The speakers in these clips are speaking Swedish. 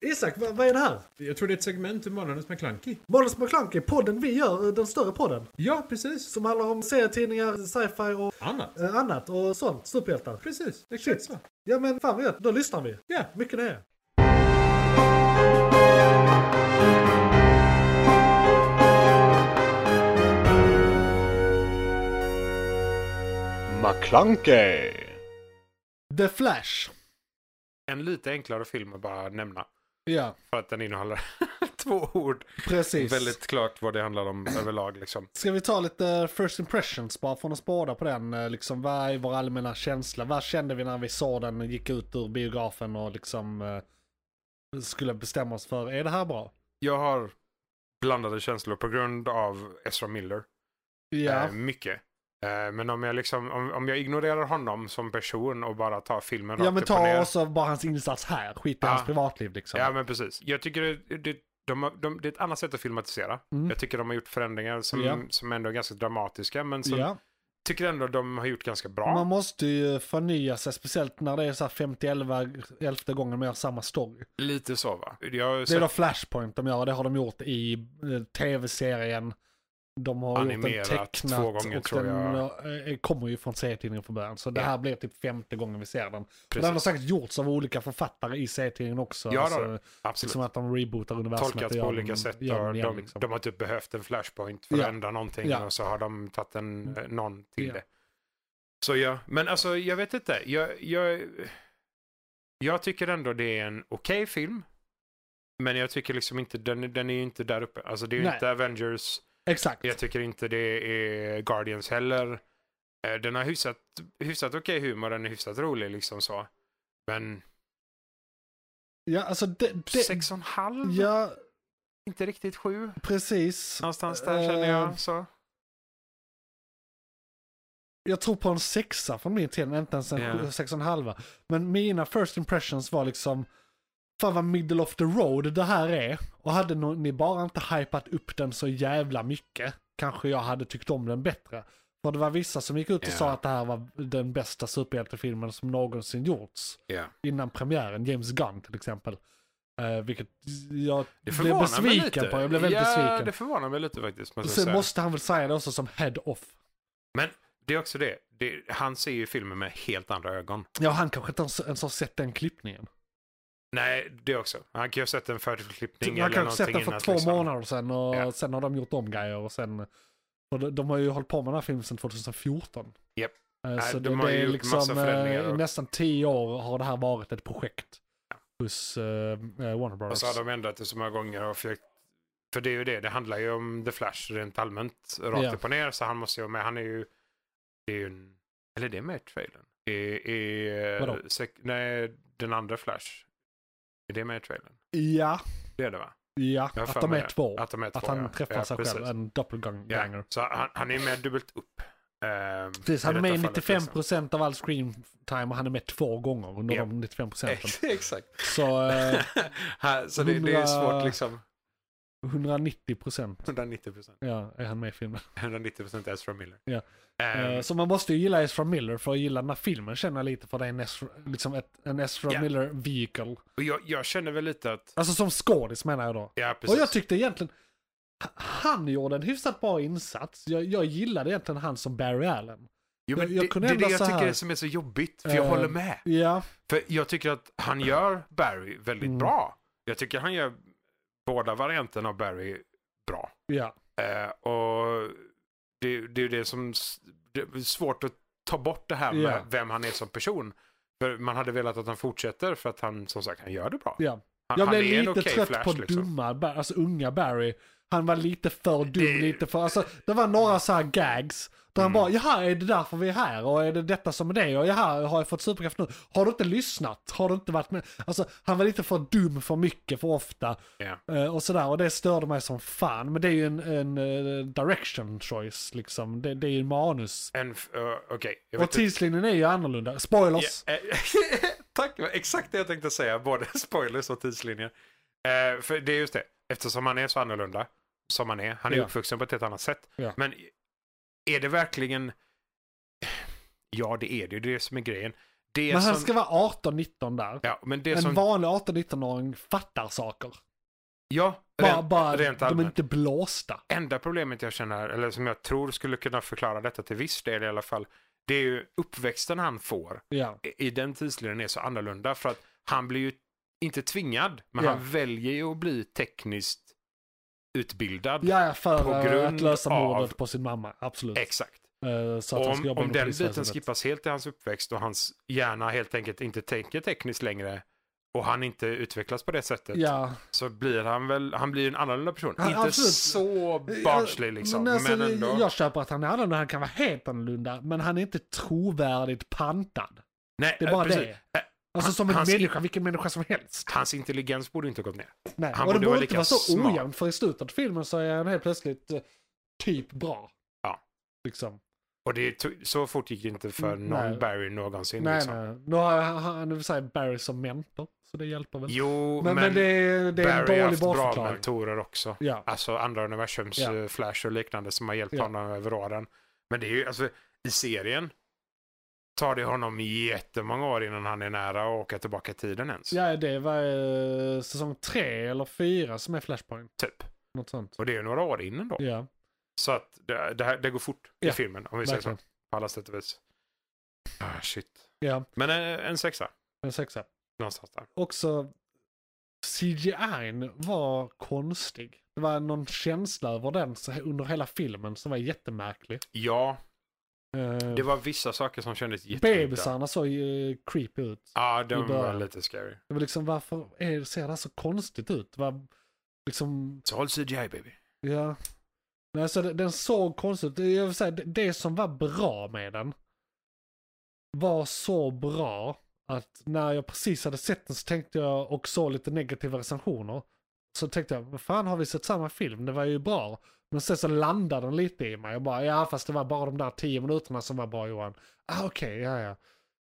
Isak, vad, vad är det här? Jag tror det är ett segment ur Månadens McKlunky. Måns McClunky, podden vi gör, eh, den större podden. Ja, precis. Som handlar om serietidningar, sci-fi och Annat. eh, annat och sånt. Superhjältar. Precis, exakt så. Ja men fan vad gött, då lyssnar vi. Ja, Mycket nöje. McClunkey! The Flash. En lite enklare film att bara nämna. Ja, För att den innehåller två ord. precis. Väldigt klart vad det handlar om överlag liksom. Ska vi ta lite first impressions bara från oss båda på den? Eh, Liksom, vad är vår allmänna känsla? Vad kände vi när vi såg den och gick ut ur biografen och liksom eh, skulle bestämma oss för, är det här bra? Jag har blandade känslor på grund av Ezra Miller. Ja, Eh, mycket. Eh, men om jag, liksom, om, om jag ignorerar honom som person och bara tar filmen ja rakt men upp och ta ner. också bara hans insats här, skit i Ja. hans privatliv liksom. Ja men precis. Jag tycker det, det, de, har- de, det är ett annat sätt att filmatisera. Mm. Jag tycker de har gjort förändringar som, Ja. som ändå är ganska dramatiska. Men som Ja. tycker ändå de har gjort ganska bra. Man måste ju förnya sig, speciellt när det är så här 50 11, 11 gången med samma story. Lite så va? Jag har Det är sett då Flashpoint de gör, det har de gjort i eh, tv-serien. De har Animerat gjort den tecknat två gånger, och tror den jag. eh, kommer ju från serietidningen från början. Så det Ja. här blir typ femte gången vi ser den. Och precis. Den har säkert gjorts av olika författare i serietidningen också. Ja, det har alltså, det. Absolut. liksom att de rebootar universumet. och Tolkats gör på den- olika sätt. gör den Och igen, de, liksom. de har typ behövt en flashpoint för Ja. att ändra någonting Ja. och så har de tagit en, eh, någon till Ja. det. Så ja, men alltså jag vet inte. Jag, jag, jag tycker ändå det är en okej film. Men jag tycker liksom inte, den, den är ju inte där uppe. Alltså det är ju Nej. inte Avengers. Exakt. Jag tycker inte det är Guardians heller. Eh, Den har hyfsat, hyfsat okej humor, den är hyfsat rolig liksom så. Men Ja, alltså det, det, sex och en halv? ja, Inte riktigt sju? precis. Någonstans där känner jag. Eh, Så. Jag tror på en sexa från min tid, inte ens en Ja. sex och en halva. Men mina first impressions var liksom, fan vad middle of the road det här är. Och hade no- ni bara inte hypat upp den så jävla mycket, kanske jag hade tyckt om den bättre. För det var vissa som gick ut och Ja. sa att det här var den bästa superhjältefilmen som någonsin gjorts. Ja. Innan premiären, James Gunn till exempel. Eh, vilket jag Det blev förvånar mig besviken lite. på, jag blev väldigt ja, besviken. det förvånar mig lite faktiskt. måste jag Sen säga. måste han väl säga det också som head off. Men det är också det. det. Han ser ju filmen med helt andra ögon. Ja, han kanske inte ens- ens har sett den klippningen. Nej, det också. Han kan ju ha sett en förklippning Man eller kan någonting sett den för innan, två liksom. månader sedan och Ja. sen har de gjort om grejer och sen... Och de, de har ju hållit på med den här filmen sedan 2014. Japp. Eh, Nej, Så de det, har det ju är gjort liksom massa förändringar eh, och- nästan tio år har det här varit ett projekt. Hos eh, eh, Warner Och Brothers. så har de ändrat det så många gånger och försökt... För det är ju det. Det handlar ju om The Flash rent allmänt. Rakt Ja. upp och ner. Så han måste ju vara med. Han är ju... Det är ju en... Eller det är med i trailern. I, i, eh, Vadå? sek- nej, den andra Flash. Är det med i trailern? Ja, Det är det va? ja. Jag har Att för de mig är det. två. Att de är två, Att han ja. träffar Ja, sig precis. själv, en Ja, doppelganger. så han, han är ju med dubbelt upp. ehm, Precis, han i är med i detta fallet, liksom. 95% av all screentime och han är med två gånger under Ja. de 95 procenten. liksom. Exakt. Så eh, Här, så det, det är svårt liksom. 190 procent 190 procent. ja, är han med i filmen. 190 procent Ezra Miller. Ja. Ehm, Eh, så man måste ju gilla Ezra Miller för att gilla den här filmen känner jag lite för det är en Ezra, liksom ett, en Ezra Ja. Miller vehicle. och jag, jag känner väl lite att... Alltså som skådis menar jag då. Ja, precis. Och jag tyckte egentligen, h- han gjorde en hyfsat bra insats. Jag, jag gillade egentligen han som Barry Allen. jo, men jag- jag det, kunde det är ändå det jag så tycker här. är som är så jobbigt. För jag Ehm, håller med. Ja, För jag tycker att han gör Barry väldigt Mm. bra. Jag tycker han gör båda varianterna av Barry bra. ja. Eh, och det, det är ju det som s- det är svårt att ta bort det här med Ja. vem han är som person. För man hade velat att han fortsätter för att han som sagt han gör det bra. ja. Han, Jag han blev är en lite okej trött Flash, på liksom. dumma, Bar- alltså unga Barry. Han var lite för dum, Det- Mm. lite för, alltså det var några så här gags. Där han bara, jaha är det därför vi är här? Och är det detta som är det? Och jaha, har jag fått superkraft nu? Har du inte lyssnat? Har du inte varit med? Alltså han var lite för dum för mycket, för ofta. Ja. Eh, Och sådär, och det störde mig som fan. Men det är ju en, en eh, direction choice liksom. Det, det är ju manus. En, f- eh, okej. jag Och vet inte- tidslinjen är ju annorlunda. Spoilers! Ja, eh, Tack, det var exakt det jag tänkte säga. Både spoilers och tidslinjer. Eh, för det är just det, eftersom han är så annorlunda som han är. Han är Ja. uppvuxen på ett helt annat sätt. Ja. Men är det verkligen... Ja, det är det. Det är det som är grejen. Det Men han som, ska vara 18-19 där. ja, men det En som... vanlig 18-19-åring fattar saker. ja, Bara, rent, bara rent de är allmänt. inte blåsta. Enda problemet jag känner, eller som jag tror skulle kunna förklara detta till viss del i alla fall, det är ju uppväxten han får Ja. i- i den tidslinjen är så annorlunda för att han blir ju inte tvingad, men Ja. han väljer ju att bli tekniskt utbildad. Ja, ja, för På eh, grund att lösa av- mordet på sin mamma. Absolut. Exakt. Eh, Så att han ska Om, jobba om inom den biten polisväsendet. skippas helt i hans uppväxt och hans hjärna helt enkelt inte tänker tekniskt längre och han inte utvecklas på det sättet Ja. så blir han väl, han blir en annorlunda person. Ja, inte absolut. så barnslig liksom, men, alltså, ändå. Jag köper att han är annorlunda, han kan vara helt annorlunda, men han är inte trovärdigt pantad. Nej, Det är eh, bara precis. det. Eh, Alltså som en hans- människa, vilken människa som helst. Hans intelligens borde inte ha gått ner. Nej. han och det borde vara borde inte lika vara så smart. ojämnt, för i slutet av filmen så är han helt plötsligt eh, typ bra. Ja. Liksom. Och det, to- så fort gick det inte för Mm, någon nej. Barry någonsin. Nej, liksom. nej. Nu har han- han i och för sig Barry som mentor, så det hjälper väl. Jo, men, men, det, är- det är en Barry har dålig haft bra bortförklaring. mentorer också. Ja. Alltså andra universums Ja. eh, Flash och liknande som har hjälpt Ja. honom över åren. Men det är ju, alltså i serien tar det honom jättemånga år innan han är nära och åka tillbaka i tiden ens. ja, det var eh, säsong tre eller fyra som är Flashpoint. Typ. Något sånt. Och det är ju några år innan då. Ja, Så att det, det, här, det går fort i Ja, filmen om vi säger så. verkligen. På alla sätt och vis. Ah, shit. Ja, Men eh, en sexa en sexa. någonstans där. också CGI var konstig. Det var någon känsla över den så- under hela filmen som var jättemärklig. Ja, Uh, det var vissa saker som kändes jätteudda. Bebisarna såg ju eh, creepy ut. Ja, i de var början. lite scary. Det var liksom varför är, ser det här så konstigt ut? Det var liksom, Så håll CGI baby. ja. Nej, så det, den såg konstigt ut. Jag vill säga, det, det som var bra med den var så bra att när jag precis hade sett den så tänkte jag och såg lite negativa recensioner. Så tänkte jag, vad fan har vi sett samma film? Det var ju bra. Men sen så landade den lite i mig. Jag bara, ja fast det var bara de där tio minuterna som var bra Johan. Ah okej, ja ja.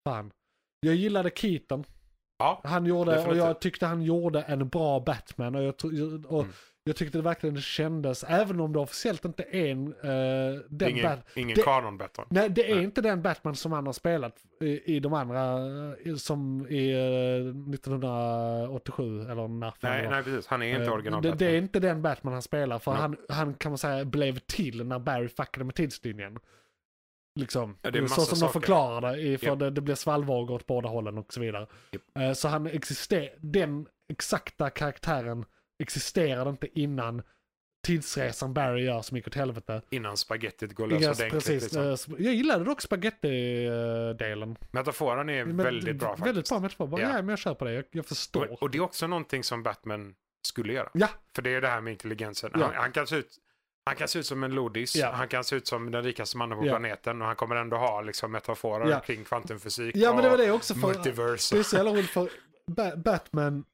Fan. Jag gillade Keaton. Ja, Han gjorde, och definitivt. jag tyckte han gjorde en bra Batman. Och jag, tro- och Mm. jag tyckte det verkligen kändes, även om det officiellt inte är en, eh, Det är den ingen, Bat- ingen det- kanon Batman. Nej, det är Nej. inte den Batman som han har spelat i, i de andra, eh, som i eh, 1987 eller när fan det Nej, var. nej, precis. Han är inte Eh, original det, Batman. det är inte den Batman han spelar, för Nej. han, han kan man säga blev till när Barry fuckade med tidslinjen. Liksom. Ja, det är så massa som de saker. förklarar det, i- för Japp. det, det blir svallvågor åt båda hållen och så vidare. Japp. Eh, Så han existerar, den exakta karaktären existerade inte innan tidsresan Barry gör som gick åt helvete. Innan spagettit går Inga- lös ordentligt. precis, Liksom. eh, sp- Jag gillade dock spagetti-delen. Metaforen är väldigt bra faktiskt. Väldigt bra metafor. Bara, Ja. ja. men jag köper det. Jag, jag förstår. och, och det är också någonting som Batman skulle göra. Ja. För det är det här med intelligensen. Ja. Han, han, kan se ut, han kan se ut som en lodis, Ja. han kan se ut som den rikaste mannen på Ja. planeten och han kommer ändå ha liksom, metaforer Ja. kring kvantumfysik ja, men det var det också. och För, multiverse. det är så jävla roligt för ba Batman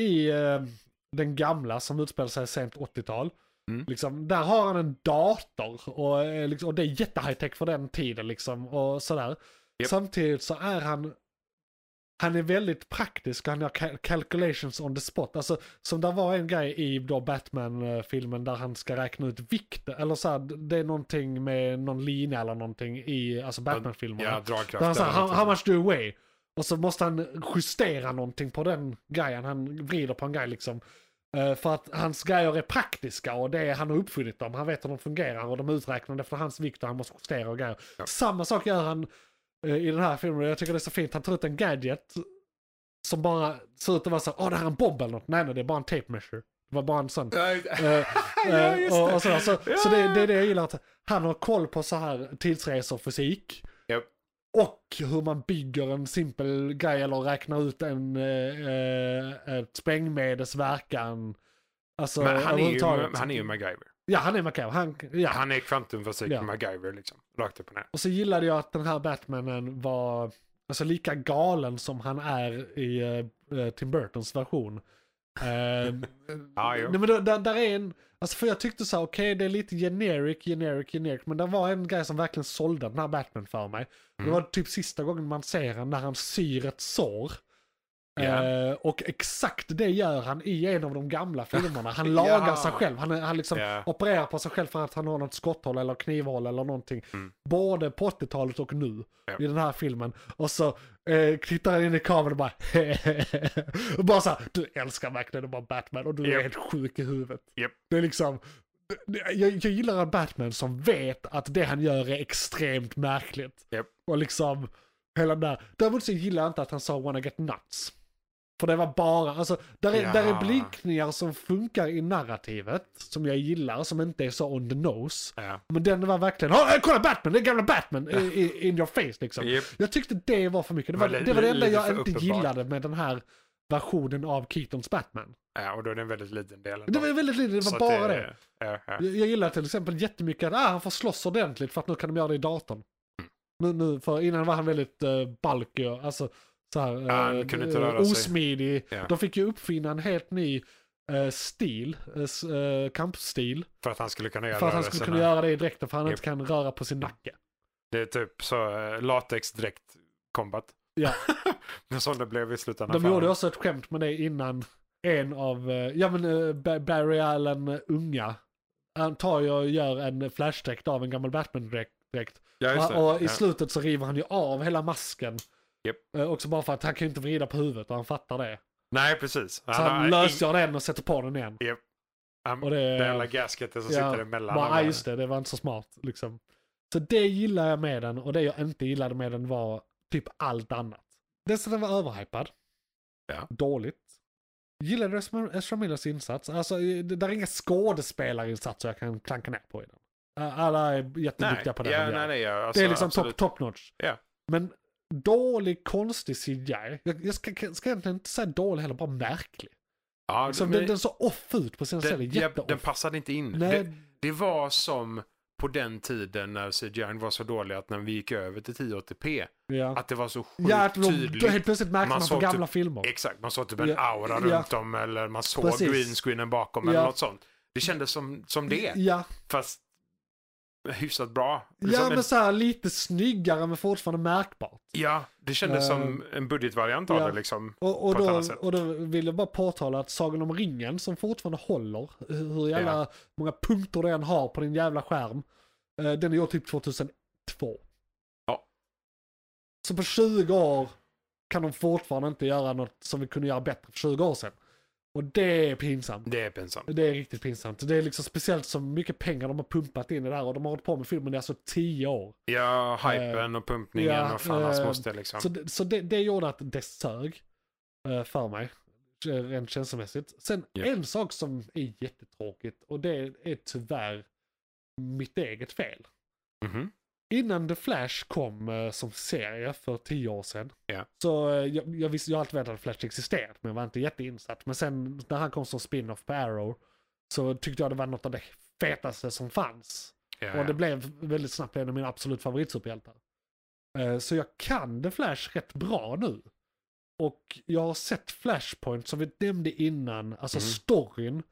i eh, den gamla som utspelar sig sent 80-tal. Mm. Liksom, där har han en dator och, eh, liksom, och det är jättehigh-tech för den tiden liksom och sådär. Japp. Samtidigt så är han han är väldigt praktisk och han gör cal- calculations on the spot. Alltså som där var en grej i då Batman-filmen där han ska räkna ut vikt. Eller så här, det är någonting med någon lina eller någonting i alltså Batman-filmerna. Ja, Där han dragkraft. sa, eller how, någonting. how much do you weigh? Och så måste han justera någonting på den grejen. Han vrider på en grej liksom. Eh, för att hans grejer är praktiska och det är, han har uppfunnit dem. Han vet hur de fungerar och de är uträknade efter hans vikt och han måste justera och grejer. Ja. Samma sak gör han eh, i den här filmen. Jag tycker det är så fint. Han tar ut en gadget som bara ser ut att vara så här, åh det här är en bomb eller något. Nej nej, det är bara en tape measure. Det var bara en sån. Ja, Eh, Ja, eh, just och, det. och sådär. Så, Ja, så det, ja, det är det jag gillar. Att han har koll på så här tidsresor, fysik. Japp. Och hur man bygger en simpel grej eller räknar ut en eh, eh, ett sprängmedelsverkan. Alltså, men han är, ju, överhuvudtaget. han är ju MacGyver. Ja, han är MacGyver. Han, ja. Han är kvantumfysik Ja. MacGyver liksom. Rakt upp och ner. Och så gillade jag att den här Batmanen var alltså, lika galen som han är i eh, Tim Burtons version. Eh, Ja, jo. Nej, men då, där, där är en, alltså för jag tyckte så här, okej det är lite generic, generic, generic, men det var en grej som verkligen sålde Mm. den här Batman för mig. Det var typ sista gången man ser han när han syr ett sår. Ja. Eh, och exakt det gör han i en av de gamla filmerna. Han lagar Ja. sig själv. Han, han liksom Ja. opererar på sig själv för att han har något skotthål eller knivhål eller någonting. Mm. Både på 80-talet och nu Ja. i den här filmen. Och så eh, tittar han in i kameran och bara och bara så här, du älskar verkligen att vara Batman och du är Japp. helt sjuk i huvudet. Japp. Det är liksom, jag, jag gillar en Batman som vet att det han gör är extremt märkligt. Japp. Och liksom, hela den där. Däremot så gillar jag inte att han sa wanna get nuts. För det var bara, alltså där är, där är Ja. blinkningar som funkar i narrativet, som jag gillar, som inte är så on the nose. Ja. Men den var verkligen, "Åh, kolla Batman, den gamla Batman i, i, in your face liksom. Japp. Jag tyckte det var för mycket, det var Men det, li- var det enda lite jag för inte uppenbart. gillade med den här versionen av Keatons Batman. ja, och då är det en väldigt liten del. Det var väldigt lite, det var bara det. Ja, ja. Jag, jag gillar till exempel jättemycket att ah, han får slåss ordentligt för att nu kan de göra det i datorn. Mm. Nu, nu, för innan var han väldigt eh, balkig och alltså, så här, Ja, han eh, kunde inte eh, röra sig. osmidig. Ja. De fick ju uppfinna en helt ny eh, stil, eh, s- eh, kampstil. För att han skulle kunna göra För att han skulle rörelserna. kunna göra det i dräkten för han Japp. inte kan röra på sin nacke. Det är typ så eh, latexdräkt combat. Ja. Men som det blev i slutändan. De för gjorde honom. också ett skämt med det innan en av, eh, ja men eh, Ba- Barry Allen eh, unga, han tar ju och gör en flashdräkt av en gammal Batman-dräkt. Ja, just det. Och, och i Ja. slutet så river han ju av hela masken. Japp. Eh, också bara för att han kan ju inte vrida på huvudet och han fattar det. Nej, precis. Så han, lösgör den och sätter på den igen. Han, och och det- det... Den jävla gasketen som sitter emellan. bara, och "Ah, just det, det var inte så smart. Liksom. Så det gillar jag med den och det jag inte gillade med den var typ allt annat. Dels att den var överhypad. Ja. Dåligt. Gillade Ezra- Ezra Millers insats. Alltså, det där är inga skådespelarinsatser jag kan klanka ner på i den. Eh, Alla är jätteduktiga nej, på det ja, de gör. nej, nej, ja, alltså, Det är liksom absolut. top, top notch. Ja. Men dålig, konstig CGI. Jag, jag ska, ska egentligen inte säga dålig heller, bara märklig. Ja, Liksom, men- den, den såg off ut på sina ställen, den, ja, den jätteoff. passade inte in. Nej, Det, det var som på den tiden när CGI var så dålig att när vi gick över till 1080p, ja. att det var så sjukt Ja, att de, då tydligt. helt plötsligt märkte Man man, på såg gamla filmer. Exakt, man såg typ en Ja, aura ja. runt om eller man såg Precis. greenscreenen bakom Ja. eller något sånt. Det kändes som, som det, Ja, fast hyfsat bra. Liksom ja en- men så här lite snyggare men fortfarande märkbart. Ja, det kändes Eh, som en budgetvariant av ja. det liksom. Och, och, På ett då, annat sätt. och då vill jag bara påtala att Sagan om ringen som fortfarande håller, eh, hur jävla Ja. många punkter den har på din jävla skärm, eh, den är gjord typ 2002. Ja. Så på 20 år kan de fortfarande inte göra något som vi kunde göra bättre för 20 år sedan. Och det är pinsamt. Det är pinsamt. Det är riktigt pinsamt. Det är liksom speciellt så mycket pengar de har pumpat in i det här och de har hållit på med filmen i alltså 10 år. Ja, hypen och pumpningen ja, och fan hans eh, moster liksom. Så, det, så det, det gjorde att det sög eh, för mig. eh, Rent känslomässigt. Sen Ja. en sak som är jättetråkigt och det är tyvärr mitt eget fel. Mhm. Innan The Flash kom eh, som serie för tio år sedan. Ja. Så eh, jag, jag visste, jag har alltid vetat att Flash existerat men jag var inte jätteinsatt. Men sen när han kom som spin-off på Arrow så tyckte jag det var något av det fetaste som fanns. Ja, Och det ja. blev väldigt snabbt en av mina absolut favoritsuperhjältar. Eh, Så jag kan The Flash rätt bra nu. Och jag har sett Flashpoint som vi nämnde innan, alltså Mm. storyn,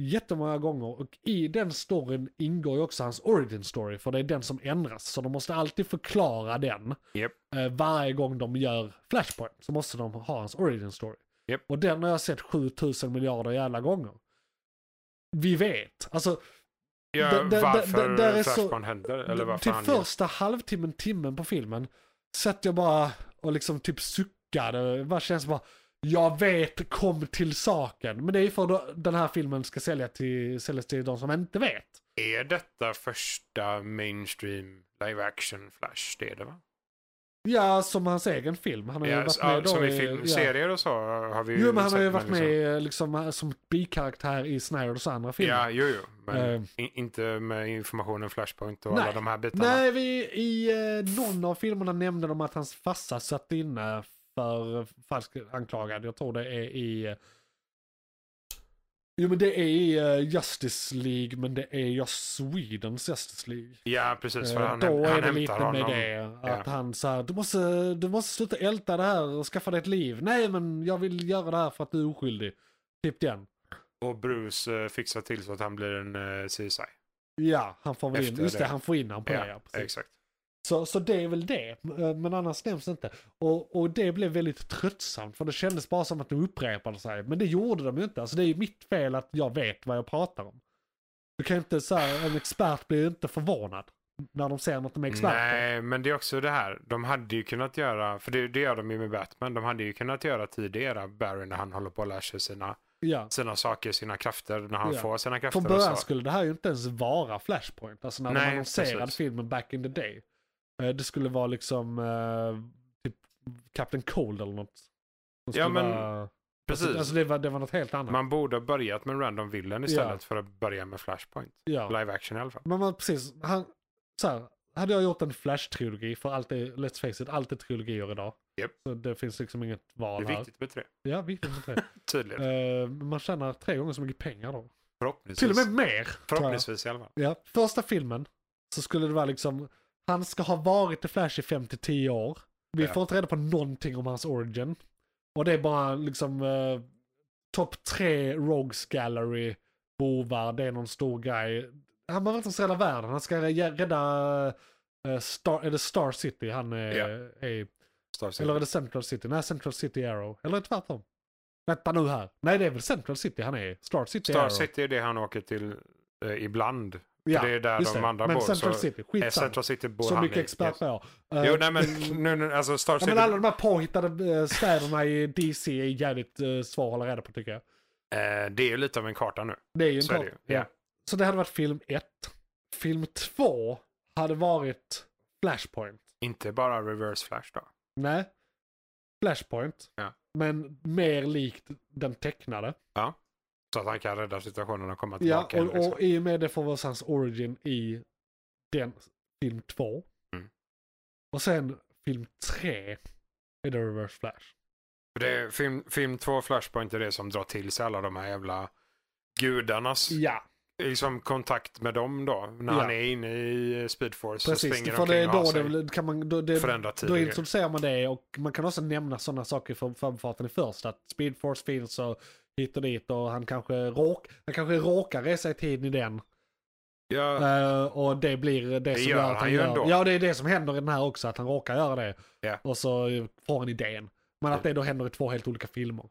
jättemånga gånger. Och i den storyn ingår ju också hans origin story, för det är den som ändras. Så de måste alltid förklara den. Japp. Eh, Varje gång de gör Flashpoint så måste de ha hans origin story. Japp. Och den har jag sett 7000 miljarder jävla gånger. Vi vet, alltså Ja, där- där- varför där- där är så- Flashpoint händer eller varför till han gör- första halvtimmen, timmen på filmen satt jag bara och liksom typ suckade. Bara känns bara, jag vet, kom till saken. Men det är ju för då- den här filmen ska sälja till, säljas till de som inte vet. Är detta första mainstream live action Flash? Det är det va? Ja, som hans egen film. Han har ju Ja, varit s- med ja, då som i Ja. filmserier och så har vi ju Jo, men han sett, har ju varit liksom- med liksom, som bikaraktär i Snyders andra filmer. Ja, jo, jo. Men Eh. i- inte med informationen Flashpoint och Nej. alla de här bitarna. Nej, vi, i eh, någon av filmerna nämnde de att hans farsa satt inne för falsk anklagad. Jag tror det är i... eh, Jo men det är i eh, Justice League, men det är just Swedens Justice League. Ja, precis. För Eh, han, Då häm- är han det hämtar lite honom. med det. Att Ja. han säger du måste, du måste sluta älta det här och skaffa dig ett liv. Nej men jag vill göra det här för att du är oskyldig. Typ den. Och Bruce eh, fixar till så att han blir en uh, CSI. Ja, han får väl in, Efter just det, det. han får in han på det. Ja, Ja, precis. exakt. Så, så det är väl det, eh, men annars nämns det inte. Och, och det blev väldigt tröttsamt för det kändes bara som att de upprepade sig. Men det gjorde de ju inte, alltså det är ju mitt fel att jag vet vad jag pratar om. Du kan inte säga, en expert blir ju inte förvånad när de ser något de är experter. Nej, men det är också det här. De hade ju kunnat göra, för det, det gör de ju med Batman, de hade ju kunnat göra tidigare Barry när han håller på att lära sig sina, Ja. sina saker, sina krafter, när han Ja. får sina krafter Från och början så. skulle det här ju inte ens vara Flashpoint. Alltså när de Nej, annonserade precis. filmen back in the day. Eh, Det skulle vara liksom eh, typ Captain Cold eller något. Som Ja, skulle men vara... Precis. Alltså, alltså det, var, det var något helt annat. Man borde ha börjat med Random Villain istället för att börja med Flashpoint. ja. Live action i alla fall. Men man, precis, han, så här, hade jag gjort en Flash-trilogi, för allt är, let's face it, allt är trilogier idag. Japp. Så det finns liksom inget Det val är här. viktigt med tre. Ja, viktigt. med det. Tydligt. Eh, man tjänar tre gånger så mycket pengar då. Förhoppningsvis. Till och med mer. tror jag. Förhoppningsvis i alla fall. Ja, första filmen så skulle det vara liksom, han ska ha varit The Flash i 5-10 år. Vi Ja. får inte reda på någonting om hans origin. Och det är bara liksom eh, topp tre Rogues Gallery bovar, det är någon stor guy. Han behöver inte ens rädda världen, han ska rä- rädda eh, Star, är det Star City han är, Ja. är Star City. eller är det Central City? Nej, Central City Arrow. Eller tvärtom. Vänta nu här. Nej, det är väl Central City han är. Star City Star Arrow. City är det han åker till eh, ibland. Ja, det är där just de det. andra Men bor, Central så- City, Är skitsamma. Central City bor Så han mycket i. expert Yes. var jag. Jo, Eh, nej men nu, nu, alltså Star ja, City. men alla de här påhittade eh, städerna i DC är jävligt eh, svåra att hålla reda på tycker jag. eh, det är ju lite av en karta nu. Det är ju en Så är det karta. ju, ja. Så det hade varit film 1. Film 2 hade varit Flashpoint. Inte bara reverse flash då. Nej. Flashpoint. Ja. Men mer likt den tecknade. Ja. Så att han kan rädda situationen och komma Ja, tillbaka. och, liksom. och i och med det får vi oss hans origin i den film 2. Mm. Och sen film 3 är det Reverse Flash. För det är film, film 2 Flashpoint är det som drar till sig alla de här jävla gudarnas Ja, liksom, kontakt med dem då. När Ja. han är inne i Speed Force så precis. springer För det är omkring och då har sig. det, kan man, då, det, Förändra då tidigare. introducerar man det och man kan också nämna sådana saker från framfarten i först. Att Speed Force finns och hit och dit och han kanske, råk, han kanske råkar resa i tiden i den. Ja, Eh, och det blir det Det som gör gör att han, han ju gör ändå. Ja, det är det som händer i den här också, att han råkar göra det. Ja. Och så får han idén. Men att det då händer i två helt olika filmer.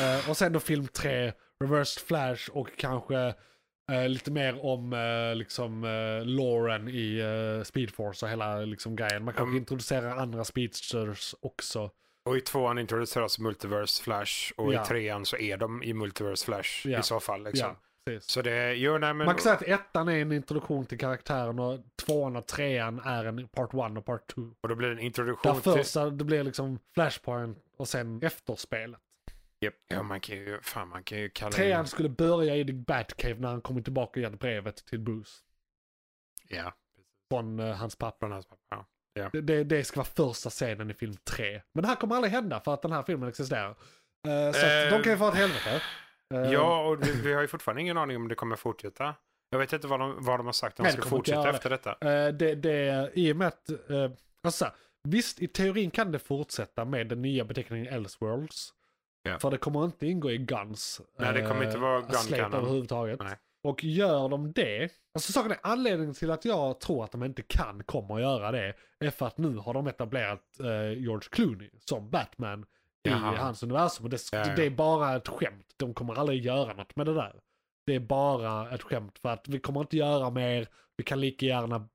Eh, och sen då film tre, Reversed Flash och kanske eh, lite mer om eh, liksom eh, Lauren i eh, Speed Force och hela liksom grejen. Man kanske Mm. introducerar andra speedsters också. Och i tvåan introduceras Multiverse Flash och Ja. i trean så är de i Multiverse Flash Ja. i så fall. Liksom. Ja, precis. Så det, jo, nej, men, Man kan säga att ettan är en introduktion till karaktären och tvåan och trean är en part one och part two. och då blir det en Där introduktion till... första, det blir liksom Flashpoint och sen efterspelet. Japp. Ja, man kan ju, fan, man kan ju kalla Trean in... skulle börja i The Batcave när han kommer tillbaka och ger brevet till Bruce. Ja, Från eh, hans pappa. från hans pappa. Ja. Det, det, det ska vara första scenen i film 3. Men det här kommer aldrig hända för att den här filmen existerar. Eh, så att Eh, de kan ju få ett helvete. Eh, Ja, och vi, vi har ju fortfarande ingen aning om det kommer fortsätta. Jag vet inte vad de, vad de har sagt om Nej, de det ska kommer inte fortsätta göra det. efter detta. eh, det, det, I och med att... eh, alltså, så här, visst, i teorin kan det fortsätta med den nya beteckningen Elseworlds. Ja. För det kommer inte ingå i Guns. Nej, det kommer inte vara eh, Gun slate Cannon. överhuvudtaget. Nej. Och gör de det, alltså saken är anledningen till att jag tror att de inte kan komma att göra det är för att nu har de etablerat eh, George Clooney som Batman Jaha. i hans universum. Och det, Ja, ja. det är bara ett skämt, de kommer aldrig göra något med det där. Det är bara ett skämt för att vi kommer inte göra mer, vi kan lika gärna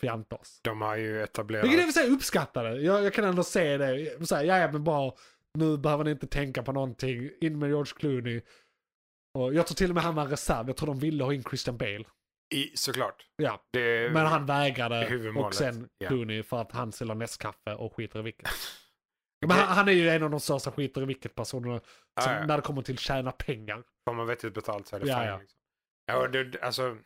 fjanta oss. De har ju etablerat... Vilket i och för sig uppskattar det. Jag, jag kan ändå se det. Så här, ja, ja, men bara, nu behöver ni inte tänka på någonting. In med George Clooney. Och jag tror till och med han var en reserv. Jag tror de ville ha in Christian Bale. I, såklart. Ja. Det, Men han vägrade. huvudmålet, Och sen ja. Clooney för att han säljer nästkaffe och skiter i vilket. Men han, han är ju en av de största skiter i vilket personerna som, Ja, Ah, ja. när det kommer till tjäna pengar. Får man vettigt betalt så är det Ja, fine. ja. Liksom. Ja, och det, alltså,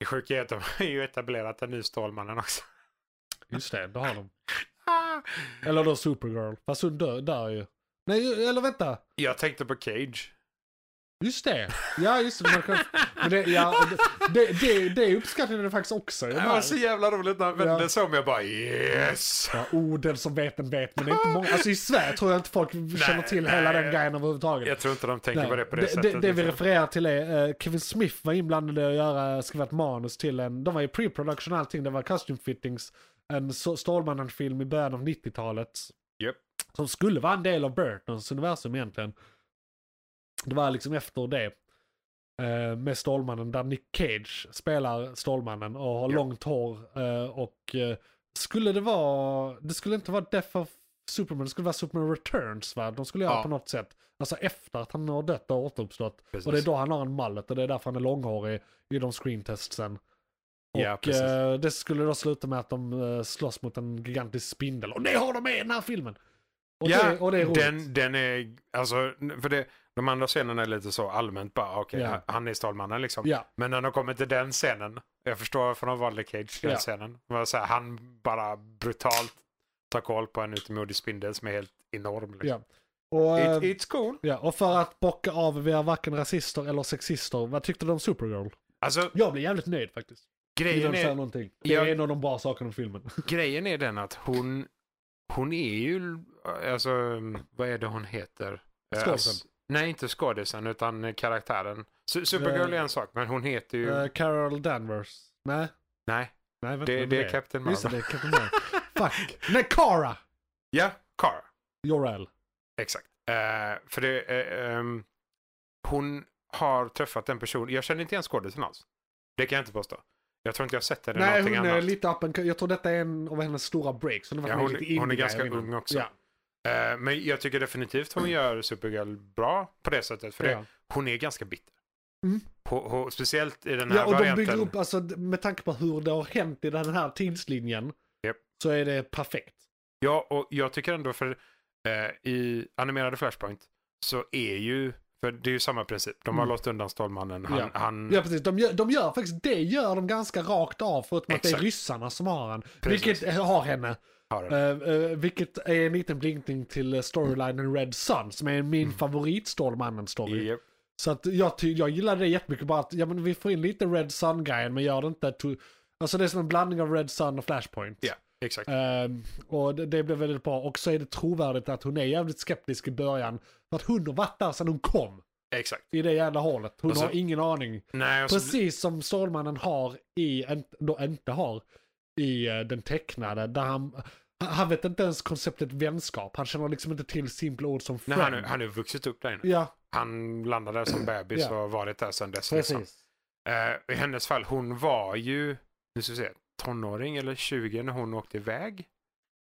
det sjuka är att de har ju etablerat en ny Stålmannen också. Just det, det har de. Ah! Eller då Supergirl. Fast hon dör, dör ju. Nej, eller vänta. Jag tänkte på Cage. Just det. Ja, just det. Man kan... Men det, ja, det, det, det uppskattade jag faktiskt också. i den Det här. var så jävla roligt när han Ja. vände sig om. Jag bara yes! Ja, oh, den som vet den vet, men det är inte många. Alltså i Sverige tror jag inte folk känner till nej. hela den grejen överhuvudtaget. Jag tror inte de tänker Nej. på det på det, det, sättet. det vi liksom. refererar till är eh, Kevin Smith var inblandad i att göra, skriva ett manus till en, de var i pre-production och allting, det var costume fittings. en så- Stålmannen-film i början av 90-talet. Japp. Som skulle vara en del av Burtons universum egentligen. Det var liksom efter det. eh, Med Stålmannen där Nick Cage spelar Stålmannen och har Japp. långt hår. eh, Och eh, skulle det vara, det skulle inte vara Death of Superman, det skulle vara Superman Returns va? De skulle göra Ja. på något sätt. Alltså efter att han har dött och återuppstått. Precis. Och det är då han har en mallet och det är därför han är långhårig i de screentestsen. Och Ja, precis. eh, det skulle då sluta med att de eh, slåss mot en gigantisk spindel. Och det har de med i den här filmen! Och, det, och det är roligt. den, den är, alltså, för det, de andra scenerna är lite så allmänt bara, okej, Ja. han är Stålmannen liksom. Ja, Men när de kommer till den scenen, jag förstår varför de valde Cage till Ja. den scenen. Det var så här, han bara brutalt tar koll på en utomjordisk spindel som är helt enorm. Liksom. ja. Och, eh, It, it's cool. ja. och för att bocka av, vi är varken rasister eller sexister. Vad tyckte du om Supergirl? Alltså, Jag blev jävligt nöjd faktiskt. Innan grejen du säger är, någonting. Det Jag- är en av de bra sakerna med filmen. grejen är den att hon, hon är ju, alltså, vad är det hon heter? Eh, Skådisen. alltså, nej, inte skådisen, utan eh, karaktären. Su- Supergirl Eh, är en sak, men hon heter ju... Eh, Carol Danvers. Nej, nej, nej vänta. det, vem det är Captain Just det, Marvel. det är Captain Marvel. Fuck. Nej, Kara! Ja, Kara. Jorel. Exakt. Eh, för det, eh, ehm, hon har träffat en person, jag känner inte igen skådisen alls. Det kan jag inte påstå. Jag tror inte jag har sett henne i Nej, någonting hon annat. är lite up and Jag tror detta är en av hennes stora breaks. Hon, har varit Ja, med hon- lite indie hon är ganska grejer innan. ung också. Ja, Eh, men jag tycker definitivt hon gör Supergirl bra på det sättet. För ja. det, hon är ganska bitter. Mm. Hon, hon, speciellt i den här ja, och de varianten. bygger upp, alltså, d- med tanke på hur det har hänt i den här tidslinjen, Japp. så är det perfekt. Ja, och jag tycker ändå för eh, i animerade Flashpoint så är ju, för det är ju samma princip. De har Mm. låst undan Stålmannen. Han, Ja. han, Ja, precis. De gör, de gör faktiskt, det gör de ganska rakt av, förutom att det är Exakt. ryssarna som har han. Precis. Vilket eh, har henne. har en- Eh, eh, vilket är en liten blinkning till eh, storylinen Red Sun, som är Mm. min favorit Stålmannen-story. Japp. Så att jag, ty- jag gillar det jättemycket, bara att ja, men vi får in lite Red Sun-grejen, men gör det inte... To- alltså det är som en blandning av Red Sun och Flashpoint. Ja, exakt. Ehm, och det, det blev väldigt bra. Och så är det trovärdigt att hon är jävligt skeptisk i början. För att hon har varit där sedan hon kom. Exakt. I det jävla hålet. Hon Och så- har ingen aning. Nej, och så- Precis som Stålmannen har i, en- då inte har, i eh, den tecknade. Där han, han- han vet inte ens konceptet vänskap. Han känner liksom inte till simpla ord som Nej, friend. han, har- han har ju vuxit upp där inne. Ja, Han landade där som bebis Ja. och har varit där sedan dess. Liksom. precis. Eh, I hennes fall, hon var ju, nu ska vi se, tonåring eller 20 när hon åkte iväg.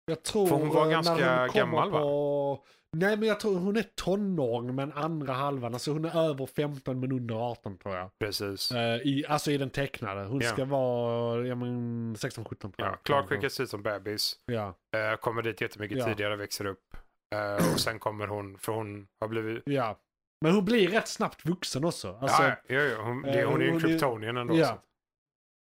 Jag tror... För hon var eh, ganska när hon kommer gammal, va? på... Nej men jag tror hon är tonåring men andra halvan. Alltså hon är över 15 men under 18 tror jag. Precis. Eh, i, alltså i den tecknade. Hon Ja. ska vara ja, men 16-17 Ja, Clark skickas ut som bebis, Ja, eh, kommer dit jättemycket Ja. tidigare, växer upp. Eh, och sen kommer hon, för hon har blivit... ja. Men hon blir rätt snabbt vuxen också. Alltså, ja, ja, ja, hon, det, eh, hon är ju hon en är- kryptonian ändå. ja. så.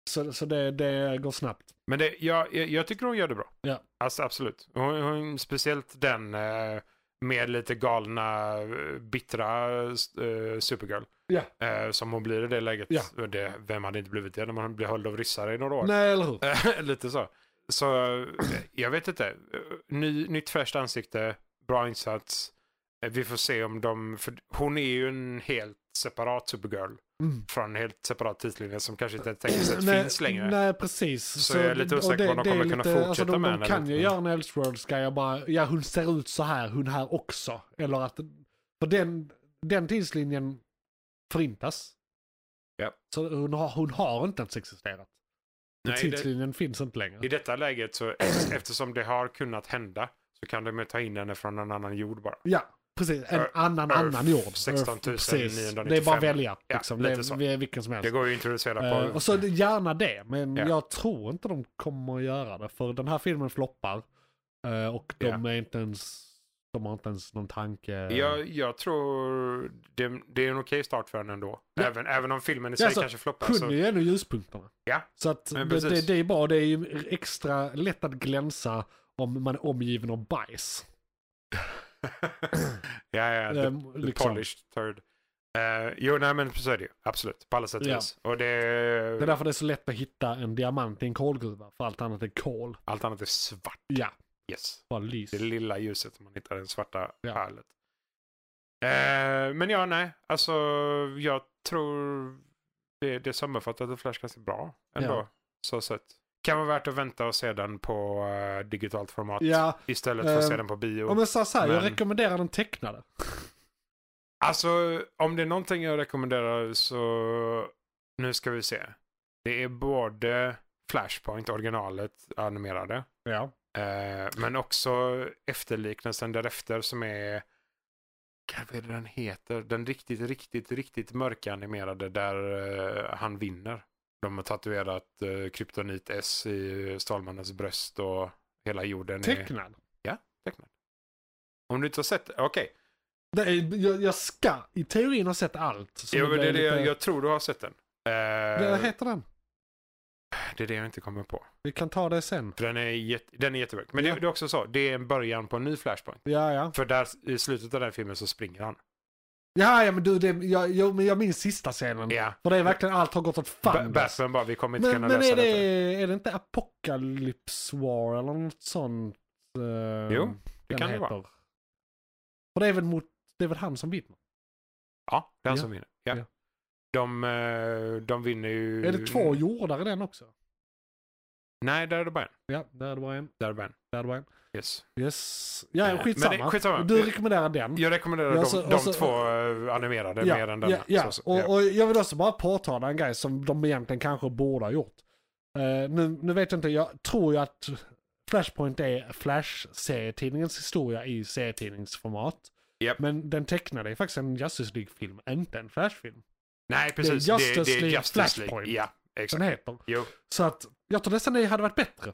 Så, så det, det går snabbt. Men det, jag, jag, jag tycker hon gör det bra. Ja. Alltså, absolut. Hon, hon, speciellt den eh, med lite galna, eh, bittra eh, Supergirl. Ja. Eh, som hon blir i det läget. Ja. Och Det, vem hade inte blivit det när man blir höljd av ryssar i några år? Nej, eller hur? Eh, lite så. Så eh, jag vet inte. Eh, Ny, nytt fräscht ansikte, bra insats. Eh, Vi får se om de... För hon är ju en helt separat Supergirl. Mm. Eh, Från en helt separat tidslinje som kanske inte tekniskt sett Nej, finns längre. Nej, precis. Så jag är lite och osäker på om de är kommer kunna fortsätta alltså, de, med de henne kan lite, ju men- göra en Elseworlds grej och bara, ja hon ser ut så här, hon här också. Eller att, för den, den tidslinjen förintas. Ja. Så hon har, hon har inte ens existerat. Nej, det- tidslinjen finns inte längre. I detta läget, så eh, eftersom det har kunnat hända, så kan de ju ta in henne från en annan jord bara. Ja, precis. En Earth- annan annan jord. Earth, 16 precis. 995. Det är bara att välja. Ja, Liksom. lite Det är, så. vi är vilken som helst. Det går ju att introducera Eh, på... och så det- gärna det, men Ja. jag tror inte de kommer att göra det. För den här filmen floppar. eh, och de Ja. är inte ens... De har inte ens någon tanke. jag, jag tror det, det är en okej start för henne ändå. Ja. Även, även om filmen i sig alltså, kanske floppar. Kunde så- ju ändå ljuspunkterna. Ja. Så att det, Men det, precis. det är bra. Det är ju extra lätt att glänsa om man är omgiven av bajs. ja, ja. The, Ehm, the liksom. polished third. Eh, jo, nej men så är det ju. Absolut. På alla sätt och Ja. vis. Och det, Det är därför det är så lätt att hitta en diamant i en kolgruva. För allt annat är kol. Allt annat är svart. Ja, Yes. bara lys. Det lilla ljuset man hittar, den svarta Ja. pärlet. Eh, men ja, nej. Alltså, jag tror det, det sammanfattar att Flash ganska bra ändå. Ja. Så sett. Kan vara värt att vänta och se den på eh, digitalt format Ja, istället för att se eh, den på bio. om jag sa så här, jag Men- rekommenderar den tecknade. Alltså, om det är någonting jag rekommenderar så... Nu ska vi se. Det är både Flashpoint, originalet, animerade. Ja. eh, men också efterliknelsen därefter som är... God, Vad är det den heter? Den riktigt, riktigt, riktigt mörka animerade där eh, han vinner. De har tatuerat eh, kryptonit S i Stålmannens bröst och hela jorden är Tecknad. tecknad. Om du inte har sett det, okej. Nej, jag, jag ska i teorin ha sett allt. så Jo, men det blir är det, jag, lite- jag tror du har sett den. Eh, Vad heter den? Det är det jag inte kommer på. Vi kan ta det sen. För den är, jätte, den är jättemörk. Men Ja. det, det är också så, det är en början på en ny Flashpoint. Ja, ja. För där, i slutet av den filmen så springer han. Ja, ja men du, det, jag, jag, men jag minns sista scenen. Ja. För det är verkligen allt har gått åt Ba- fanders. Batman bara, vi kommer inte Men, kunna men lösa är, det, detta. är det inte Apocalypse War eller något sånt? eh, Jo, det den kan det vara. heter? För det är väl, mot, det är väl han som vinner? Ja, den Ja. som vinner. Ja. Ja. De, eh, de vinner ju... Är det två jordar i den också? Nej, där är det bara en. Ja, där är det bara en. Där är det bara en. Där är det bara en. Yes. Yes. Ja, Eh, skitsamma. men det- skitsamma. Du Eh, rekommenderar den. Jag rekommenderar Ja, de, så- de och så- två eh, animerade mer än denna. ja, ja. Så- så- och, ja. och jag vill också bara påtala en grej som de egentligen kanske borde ha gjort. Eh, nu, nu vet jag inte, jag tror ju att Flashpoint är Flash-serietidningens historia i serietidningsformat. Japp. Men den tecknade är faktiskt en Justice League-film, inte en Flash-film. Nej, precis. Det är Justice Justice, det, är League Justice League. Flashpoint. Ja, Den exakt. heter. Jo. Så att jag tror nästan det hade varit bättre.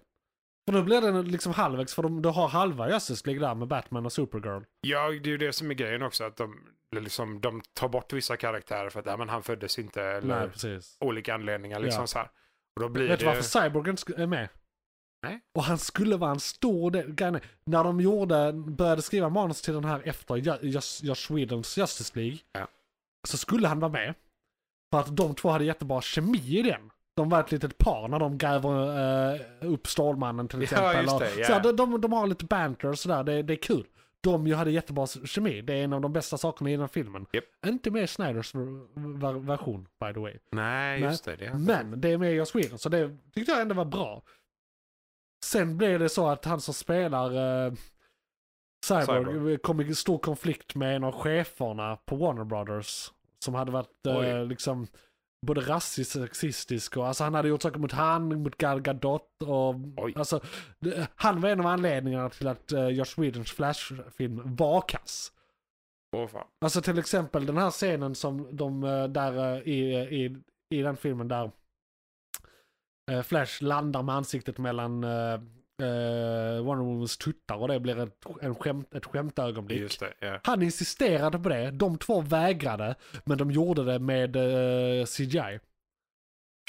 För nu blir den liksom halvvägs, för de, du har halva Justice League där med Batman och Supergirl. Ja, det är ju det som är grejen också. Att de, liksom, de tar bort vissa karaktärer för att nej, men han föddes inte eller Nej, precis. olika anledningar. Liksom Ja. så här. Och då blir Vet du det... varför Cyborg inte sk- är med? Nej. Och han skulle vara en stor del. grejen är, När de gjorde, började skriva manus till den här efter Ju- Just, Joss Whedons Justice League. Ja. Så skulle han vara med. För att de två hade jättebra kemi i den. De var ett litet par när de gräver eh, upp Stålmannen till Ja, exempel. just och- det, ja. så här, de, de, de har lite banter och sådär, det, det är kul. De ju hade jättebra kemi, det är en av de bästa sakerna i den filmen. Japp. Inte med i Snyders ver- version, by the way. Nej, Nej. just det. det är... Men det är med Joss Whedon, så det tyckte jag ändå var bra. Sen blev det så att han som spelar eh, Cyborg, Cyborg. kom i stor konflikt med en av cheferna på Warner Brothers. Som hade varit eh, Oj. liksom både rasistisk och sexistisk. Och, alltså, han hade gjort saker mot han, mot Gal Gadot. Och, Oj. alltså, det, han var en av anledningarna till att eh, Josh Whedons Flash-film var kass. Åh, fan. Alltså till exempel den här scenen som de eh, där eh, i, i, i den filmen där eh, Flash landar med ansiktet mellan eh, eh, Wonder Womans tuttar och det blir ett, en skämt, ett skämtögonblick. Just det, ja. Han insisterade på det, de två vägrade, men de gjorde det med eh, CGI.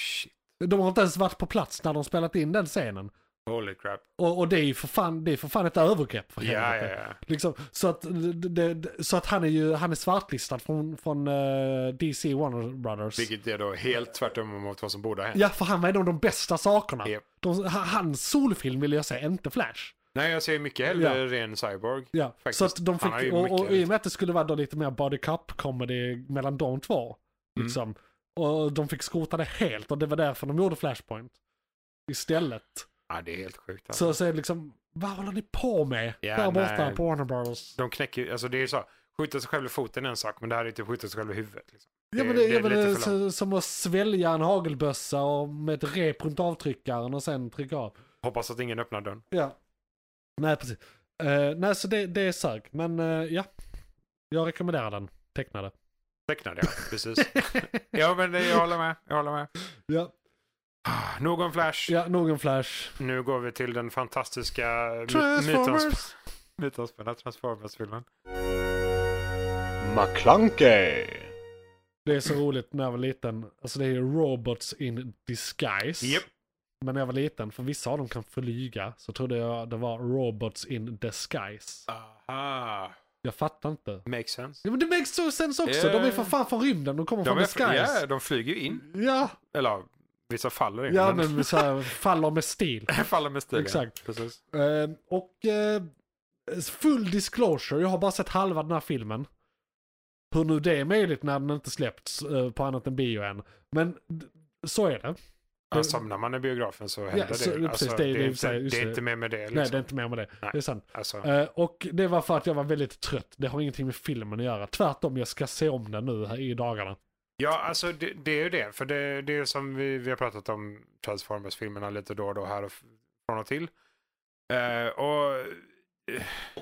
Shit. De har inte ens varit på plats när de spelat in den scenen. Holy crap. Och, och det är ju för fan, det är för fan ett övergrepp för Ja, helvete. ja, ja. Liksom, så, att, det- det, det, så att han är ju han är svartlistad från, från eh, DC Warner Brothers. Vilket är då helt tvärtom mot vad som borde ha hänt. Ja, för han var en av de bästa sakerna. Japp. De, ha- hans solfilm vill jag säga, inte Flash. Nej, jag ser mycket hellre ren cyborg. Ja, Faktiskt. så att de Han har ju fick, och, och, mycket- i och med att det skulle vara då lite mer body cup comedy mellan de två. Mm. Liksom, Och de fick skrota det helt och det var därför de gjorde Flashpoint. Istället. Ja, det är helt sjukt. Alltså. Så, så är det liksom, vad håller ni på med? Ja, Där borta nej. på Warner Brothers. De knäcker ju- alltså det är ju så. Skjuta sig själv i foten är en sak, men det här är typ skjuta sig själv i huvudet. Liksom. Ja Det- men det, det ja, är men lite det är eh, för så- som att svälja en hagelbössa och med ett rep runt avtryckaren och sen trycka av. Hoppas att ingen öppnar dörren. Ja. Nej precis. Eh, nej så det, det är sög. Men eh, ja. Jag rekommenderar den. Tecknade. Tecknade jag, precis. ja, men det, jag håller med. Jag håller med. ja. Ah, Någon flash. ja, någon flash. Nu går vi till den fantastiska my- mytoms- Transformers! mytomspunna Transformers-filmen. McClunkey, Det är så roligt när jag var liten. Alltså det är ju robots in disguise. Japp. Men när jag var liten, för vissa av dem kan flyga, så trodde jag det var robots in disguise. Aha. Jag fattar inte. Makes sense. Ja men det makes so sense också. Ja, De är ja, för ja. fan från rymden. De kommer De, från är, disguise. ja, de flyger ju in. Ja, Eller vissa faller in. ja men så här, faller med stil. faller med stilen. Exakt. Precis. Eh, och eh, full disclosure, jag har bara sett halva den här filmen. Hur nu det är möjligt när den inte släppts eh, på annat än bio än. Men d- så är det. Ja, somnar man i biografen så händer det. så- ju. precis, det är det i och för inte, sig, just det är det. inte mer med det. Liksom. Nej, det är inte mer med det. Nej. Det är sant. alltså, Eh, och det var för att jag var väldigt trött. Det har ingenting med filmen att göra. Tvärtom, jag ska se om den nu här i dagarna. ja, alltså det, det är ju det. För det, det är som vi, vi har pratat om Transformers-filmerna lite då och då här och f- från och till. Eh, och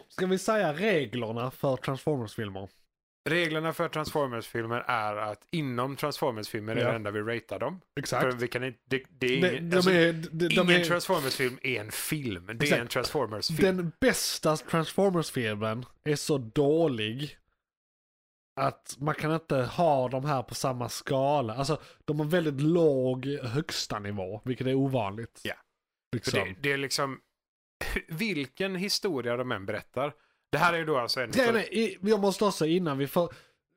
Ska vi säga reglerna för Transformers-filmer? reglerna för Transformers-filmer är att inom Transformers-filmer är Ja. det enda vi ratear dem. Exakt. För vi kan inte, det, det är De, ingen, de alltså, är, de, de ingen är, Transformers-film är en film. Det Exakt. är en Transformers-film. den bästa Transformers-filmen är så dålig att man kan inte ha de här på samma skala. Alltså, de har väldigt låg högsta nivå, vilket är ovanligt. Ja. För Liksom. det, det är liksom, vilken historia de än berättar. Det här är ju då alltså en... Grejen är, i- jag måste också innan vi får...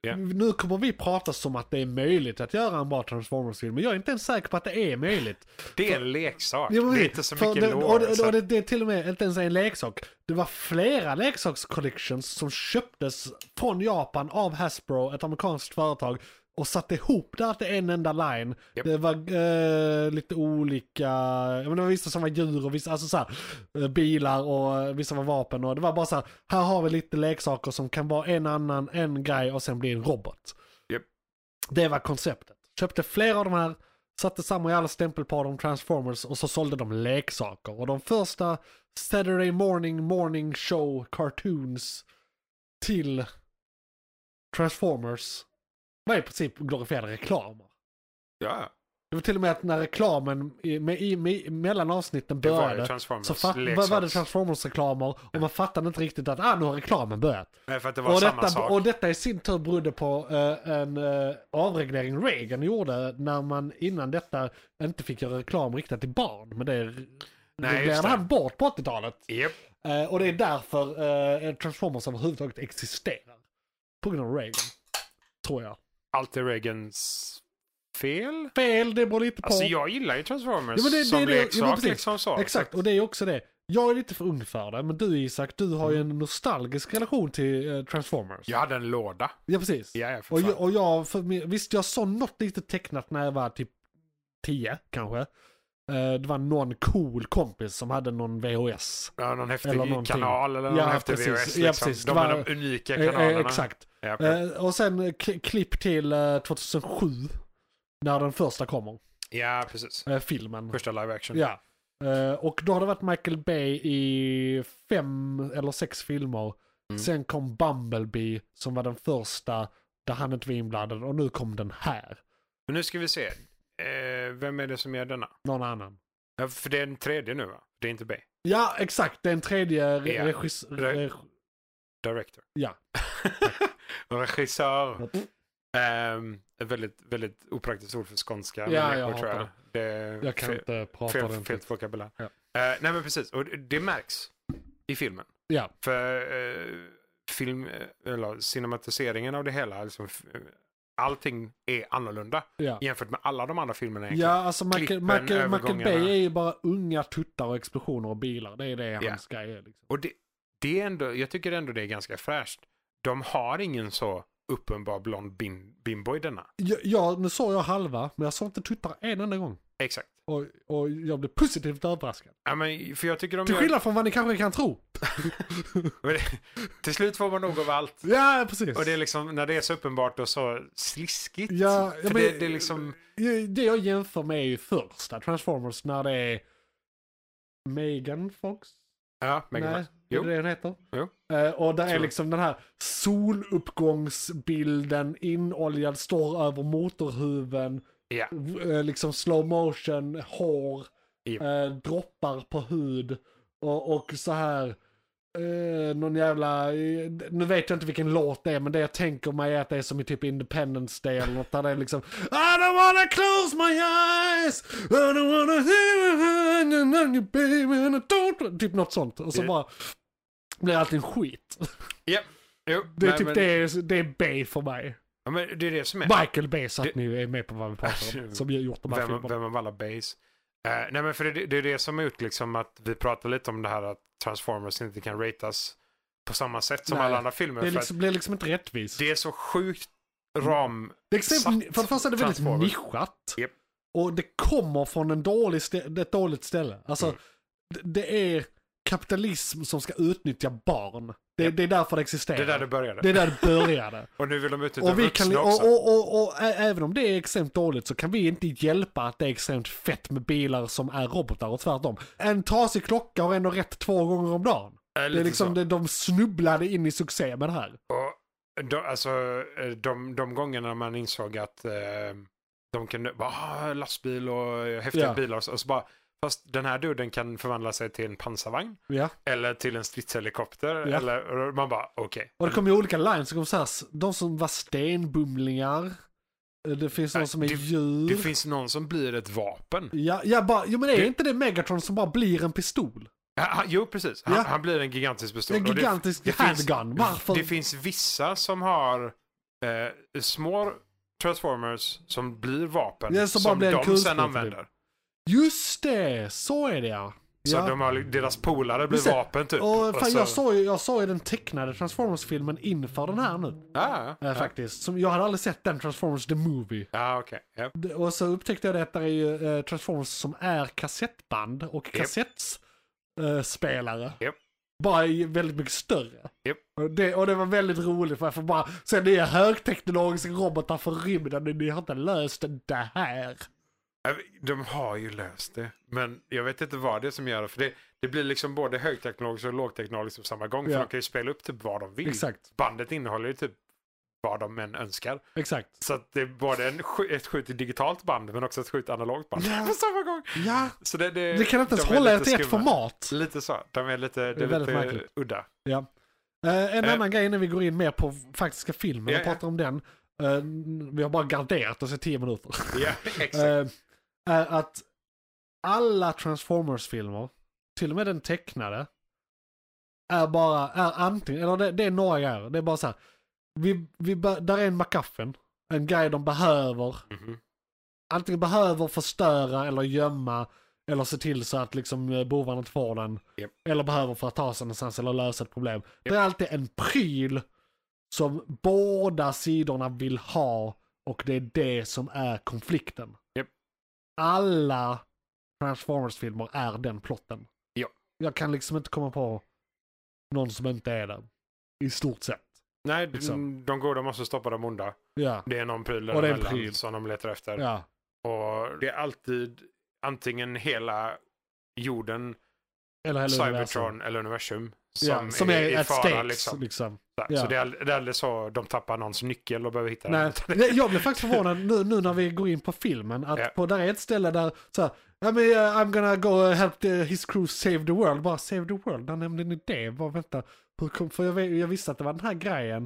Ja. Nu kommer vi prata som att det är möjligt att göra en bra Transformers-film, men jag är inte ens säker på att det är möjligt. Det är en leksak. Jo, men det är vi- inte så för mycket det, lore. Och, det, så och det, det är till och med inte ens en leksak. Det var flera leksakscollections som köptes från Japan av Hasbro, ett amerikanskt företag, och satte ihop det här till en enda line. Japp. Det var eh, lite olika, jag menar, det var vissa som var djur och vissa, alltså så här, eh, bilar och eh, vissa var vapen och det var bara så här, här har vi lite leksaker som kan vara en annan, en grej och sen bli en robot. Japp. Det var konceptet. Köpte flera av de här, satte samma jävla stämpel på dem, Transformers, och så sålde de leksaker. Och de första Saturday morning morning show cartoons till Transformers var i princip glorifierade reklamer. ja, Det var till och med att när reklamen i, med, i, med, mellan avsnitten det var ju började Transformers. så fatt, leksaks. var, var det Transformers-reklamer och man fattade inte riktigt att ah, nu har reklamen börjat. Nej, för att det var Och samma detta, sak. och detta i sin tur berodde på eh, en eh, avreglering Reagan gjorde när man innan detta inte fick göra reklam riktat till barn. Men det reglerade just det. han bort på 80-talet. Japp. Eh, och det är därför eh, Transformers överhuvudtaget existerar. På grund av Reagan. Tror jag. Allt är Reagans fel. Fel, det beror lite på. Alltså jag gillar ju Transformers Ja, men det- det- som det- ja, men leksak. precis. liksom så. Exakt, Så och det är också det. Jag är lite för ung för det, men du Isak, du har ju Mm. en nostalgisk relation till eh, Transformers. Jag hade en låda. Ja, precis. Ja, ja, för Och fan. jag, och jag för, min- visst jag såg något lite tecknat när jag var typ 10 kanske. Eh, det var någon cool kompis som hade någon VHS. Ja, någon häftig eller någonting. kanal eller någon Ja, häftig precis. VHS. Liksom. Ja, precis. De Det är var- de unika Eh, eh, kanalerna. exakt. Ja, ja. Eh, och sen eh, k- klipp till eh, 2007. När den första kommer. ja, precis. Eh, filmen. Första live action. Ja. Eh, och då har det varit Michael Bay i fem eller sex filmer. Mm. Sen kom Bumblebee som var den första där han inte var inblandad. Och nu kom den här. Men nu ska vi se. Eh, vem är det som gör denna? Någon annan. Ja, för det är den tredje nu va? Det är inte Bay. Ja, exakt. Den tredje re- Ja. regis- Re- reg- Director. Ja. Regissör. Ehm, ett väldigt, väldigt opraktiskt ord för skånska. Ja, människor, jag hatar Det är Jag kan fe- inte prata fel, fel ordentligt. vokabulär. Ja. Eh, nej men precis, och det- det märks i filmen. Ja, För eh, film, eh, eller cinematiseringen av det hela, liksom, f- eh, allting är annorlunda ja. jämfört med alla de andra filmerna. Ja, egentligen. alltså Michael, Klippen, Michael, Michael övergångarna. Bay är ju bara unga tuttar och explosioner och bilar. Det är det Ja. hans grej är. Liksom. Och det, det är ändå, jag tycker ändå det är ganska fräscht. De har ingen så uppenbar blond bin, bimbo i denna. Ja, ja, nu såg jag halva, men jag såg inte tuttar en enda gång. Exakt. Och, och jag blev positivt överraskad. Ja, men, för jag tycker de Till gör, skillnad från vad ni kanske kan tro. till slut får man nog av allt. Ja, precis. Och det är liksom, när det är så uppenbart och så sliskigt. Ja, ja, för men- det, det är liksom, Ja, det jag jämför med är ju första Transformers när det är Megan Fox. ja, Megan Nej, Fox. är Jo. det det den heter? Jo. Eh, och där är Tror jag. liksom den här soluppgångsbilden inoljad, står över motorhuven, Ja, v- eh, liksom slow motion, hår, Japp. eh, droppar på hud och, och så här. Eh, någon jävla, eh, nu vet jag inte vilken låt det är men det jag tänker mig är att det är som i typ Independence Day eller något där det är liksom I don't wanna close my eyes, I don't wanna hear you baby and I don't Typ något sånt och så Ja. bara blir allting skit. ja. Jo, Det är nej, typ men, det, det är B för mig. Ja, men det är det som är. Michael B så att Det- Alltså, ni är med på vad vi pratar om. Som ju gjort de här Vem, filmerna. vem av alla base? Eh, nej men för det, det är det som har gjort liksom att vi pratar lite om det här att Transformers inte kan ratas på samma sätt som Nej, alla andra filmer. Det är för liksom, blir liksom inte rättvist. att det är så sjukt ram... Det är extremt, Satt för det första är det väldigt Transformers. nischat. Japp. Och det kommer från en dålig stä- ett dåligt ställe. Alltså, Mm. d- det är kapitalism som ska utnyttja barn. Det, det är därför det existerar. Det är där det började. Det är där det började. Och nu vill de utnyttja Och, vi kan, vuxna och, också. och, och, och ä- även om det är extremt dåligt så kan vi inte hjälpa att det är extremt fett med bilar som är robotar och tvärtom. En trasig klocka har ändå rätt två gånger om dagen. Ja, Det lite är liksom, så. det, de snubblade in i succé med det här. Och de, alltså, eh, de, de gångerna man insåg att eh, de kunde, bara, "Ah, lastbil och eh, häftiga Ja. bilar och så, och så bara, fast den här duden kan förvandla sig till en pansarvagn Ja. eller till en stridshelikopter. Ja. Eller, och man bara, okej. Och det kom ju olika lines, det kom så här, s- de som var stenbumlingar, eh, det finns Nej, någon som är det- djur. Det finns någon som blir ett vapen. Ja, ja, bara, jo men är Det- inte det Megatron som bara blir en pistol? Ja, han, jo, precis. Han, Ja. han blir en gigantisk pistol. En Och det- gigantisk det finns- handgun, varför? Det finns vissa som har eh, små transformers som blir vapen Ja, som som, bara blir en de kulspruta, sen typ. använder. Just det, så är det ja. Så ja. de har, deras polare blir Just det. vapen typ. Och fan, så, jag, såg, ju- jag såg ju den tecknade Transformers-filmen inför den här nu. eh, Ja, ja. Faktiskt. Som, jag hade aldrig sett den Transformers the Movie. ja okej. Ja. Det- Och så upptäckte jag det att det är ju eh, Transformers som är kassettband och kassettspelare. Japp. Bara i väldigt mycket större. Japp. Och, det, och det var väldigt roligt för jag får bara se nya högteknologiska robotar från rymden och ni har inte löst det här. Mm. Ja, De har ju löst det. Men jag vet inte vad det är som gör det. För det, det blir liksom både högteknologiskt och lågteknologiskt på samma gång. Ja. För de kan ju spela upp typ vad de vill. Exakt, Bandet innehåller ju typ vad de än önskar. exakt. Så att det är både en, sk- ett skjut i digitalt band men också ett skjut i analogt band. Ja. På samma gång. Ja, Så det, det, det kan inte ens Eh, de är hålla er lite till ett skumma. format. Lite så. De är lite, det Det är är väldigt lite märkligt. udda. Ja. Eh, en Eh. annan grej när vi går in mer på faktiska filmen Ja, och pratar om den. eh, vi har bara garderat oss i tio minuter. Ja, exakt. Eh, är att alla Transformers-filmer, till och med den tecknade, är bara, är antingen, eller det, det är några grejer. Det är bara så här. Vi, vi, bör- där är en MacGuffin, en grej de behöver Mhm. antingen behöver förstöra eller gömma eller se till så att liksom eh, bovarna inte får den. Japp. Eller behöver för att ta sig någonstans eller lösa ett problem. Det är alltid en pryl som båda sidorna vill ha och det är det som är konflikten. Japp. Alla Transformers-filmer är den plotten. Ja. Jag kan liksom inte komma på någon som inte är det. I stort sett. Nej, d- liksom. de goda måste stoppa de onda. Ja. Det är någon pryl Och det är en däremellan pryl. som de letar efter. Ja. Och det är alltid antingen hela jorden, Eller hela Cybertron universum. eller universum som, Ja, som är, i at fara. stakes, Liksom. liksom. Så- ja. Så det är, ald- det är aldrig så de tappar någons nyckel och behöver hitta Nej, den. nej, jag blev faktiskt förvånad nu, nu när vi går in på filmen. Att Ja. på, där är ett ställe där så här, "Ja, men, eh, I'm gonna go eh, help the, his crew save the world. Bara save the world, när nämnde ni det? Bara, vänta, hur kom, för jag, vet- jag visste att det var den här grejen.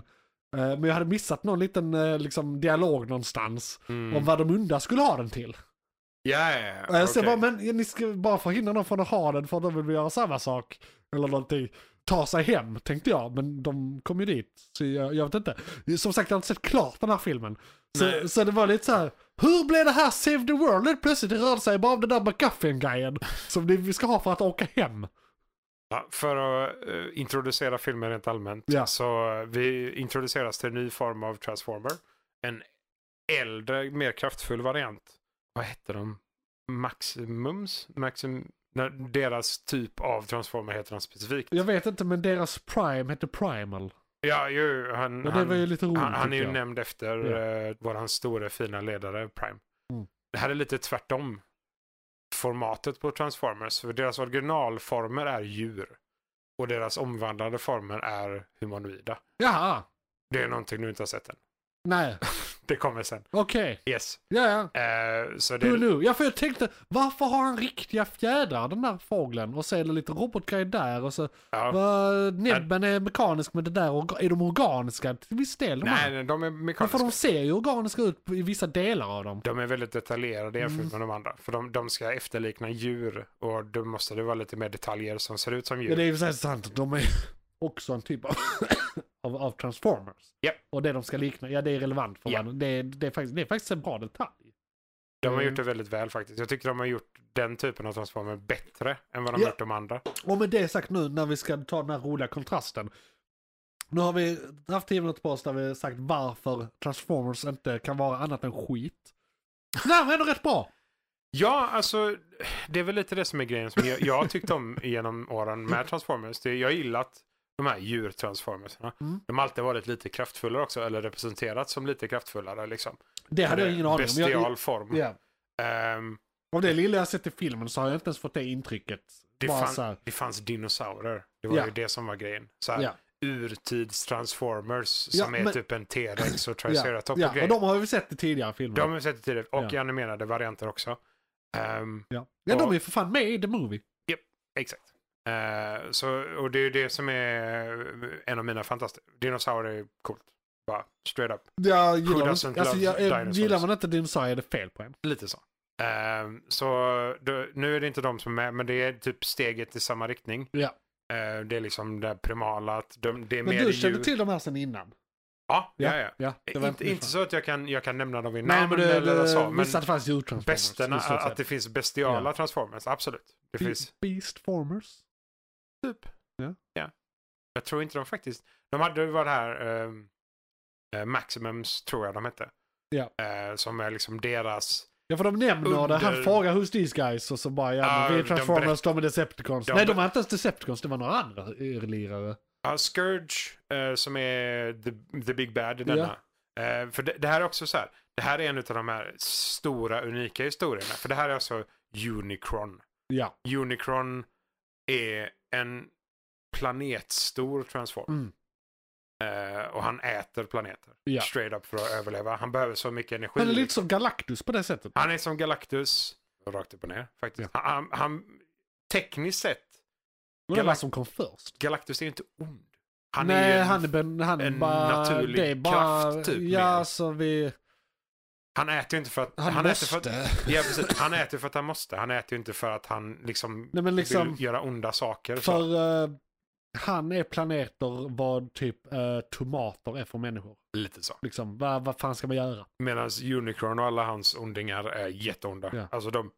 Eh, Men jag hade missat någon liten eh, liksom, dialog någonstans Mm. om vad de onda skulle ha den till. Ja, ja, ja. Okay. Eh, Så jag bara, Okej. men ni ska bara förhindra dem från att ha den för de vill göra samma sak. Eller någonting. Ta sig hem tänkte jag, men de kom ju dit. Så jag, jag vet inte. Som sagt, jag har inte sett klart den här filmen. Så, Nej. så det var lite så här. hur blev det här Save the World? Helt plötsligt det rörde sig bara om den där McGuffin-grejen som ni- vi ska ha för att åka hem. Ja, för att eh, introducera filmen rent allmänt. Ja. Så eh, vi introduceras till en ny form av Transformer. En äldre, mer kraftfull variant. Vad hette de? Maximums? Maxim... Nej, deras typ av Transformer heter han specifikt. Jag vet inte, men deras Prime hette Primal. Ja, ju, han, Och det han, var ju lite roligt han, han är tycker ju jag. nämnd efter Ja. eh, våran store fina ledare Prime. Mm. Det här är lite tvärtom formatet på Transformers. För deras originalformer är djur. Och deras omvandlade former är humanoida. Jaha, Det Mm. är någonting du inte har sett än. nej, Det kommer sen. okej, Yes. ja ja. Eh, så det, Du nu, ja för jag tänkte, varför har han riktiga fjädrar den där fågeln? Och så är det lite robotgrej där och så, ja. vad, näbben är mekanisk men det där, orga- är de organiska till viss del? De Nej, här? nej, de är Men för mekaniska. de ser ju organiska ut på- i vissa delar av dem. De är väldigt detaljerade jämfört Mm. med de andra. För de, de ska efterlikna djur och då måste det vara lite mer detaljer som ser ut som djur. Ja det är ju så här sant, de är också en typ av, av, av transformers. Ja. Och det de ska likna, ja det är relevant för Ja. varandra. Det, är- det, är faktiskt, det är faktiskt en bra detalj. De har Mm. gjort det väldigt väl faktiskt. Jag tycker de har gjort den typen av transformer bättre än vad de Ja. gjort de andra. Och med det sagt nu när vi ska ta den här roliga kontrasten. Nu har vi haft tio minuter på oss där vi har sagt varför Transformers inte kan vara annat än skit. Nej, men ändå rätt bra. Ja, alltså det är väl lite det som är grejen som jag, jag har tyckt om genom åren Mm. med Transformers. Det, jag har gillat de här djurtransformerserna. Mm. De har alltid varit lite kraftfullare också, eller representerat som lite kraftfullare. Liksom. Det hade jag ingen aning om. Jag, Bestial jag, form. ja. Ehm, Av det lilla jag sett i filmen så har jag inte ens fått det intrycket. det, Bara fann- så här. det fanns dinosaurer. Det var Ja. ju det som var grejen. Så här, Ja. Urtids-transformers Ja, som är men- typ en T-rex och Ja, Triceratops och ja, och grejer. de har vi sett i tidigare filmer. De har vi sett i tidigare, och Ja. i animerade varianter också. Ehm, ja. ja, de är för fan med i The Movie. Exakt. Eh, så, och det är ju det som är eh, en av mina fantastiska... Dinosaurier är coolt. Bara straight up. Jag Who gillar, doesn't alltså, love jag, eh, dinosaurs? gillar man inte dinosaurier är det fel på en. Lite så. Eh, så då, nu är det inte de som är med, men det är typ steget i samma riktning. Ja. Eh, det är liksom det här primala, att de, det är Men mer du djur. kände till de här sen innan? Ja, ja, ja. det var Inte, inte så att jag kan, jag kan nämna dem vid Nej, namn men du, eller du så, så, men visste att det fanns djurtransformers. besterna, visste jag att säga. det finns bestiala Ja. transformers, absolut. Det Be- finns Beastformers. typ. Ja. Jag tror inte de faktiskt, de hade ju var det här ehm, eh, Maximums tror jag de hette. Ja. Eh, som är liksom deras, Ja för de nämner det, han Under- frågar who's these guys och så bara ja Ja, men vi är de transformers, berätt- de är decepticons. de Nej de ber- var inte ens decepticons, det var några andra lirare. ja, Scourge eh, som är the, the Big Bad i denna. Eh, för det, det här är också så här, det här är en av de här stora unika historierna. För det här är alltså Unicron. Ja. Unicron är en planetstor transform. Mm. Eh, och han äter planeter. Ja. Straight up för att överleva. Han behöver så mycket energi. Han är lite som Galactus på det sättet. Han är som Galactus. Rakt upp och ner faktiskt. Han, han, tekniskt sett, Det var Galact- som kom först. Galactus är ju inte ond. Han Nej är ju en, han är, han, ben, han en bara, naturlig det är bara, kraft, typ, Ja mer. så vi, äter ju inte för att han, äter måste. för att, ja, precis. han äter för att han måste. Han äter ju inte för att han liksom, Nej men liksom, vill göra onda saker. för så. eh, han är planeter vad typ eh, tomater är för människor. Lite så. Liksom, vad, vad fan ska man göra? Medan Unicron och alla hans ondingar är jätteonda. Ja. Alltså de,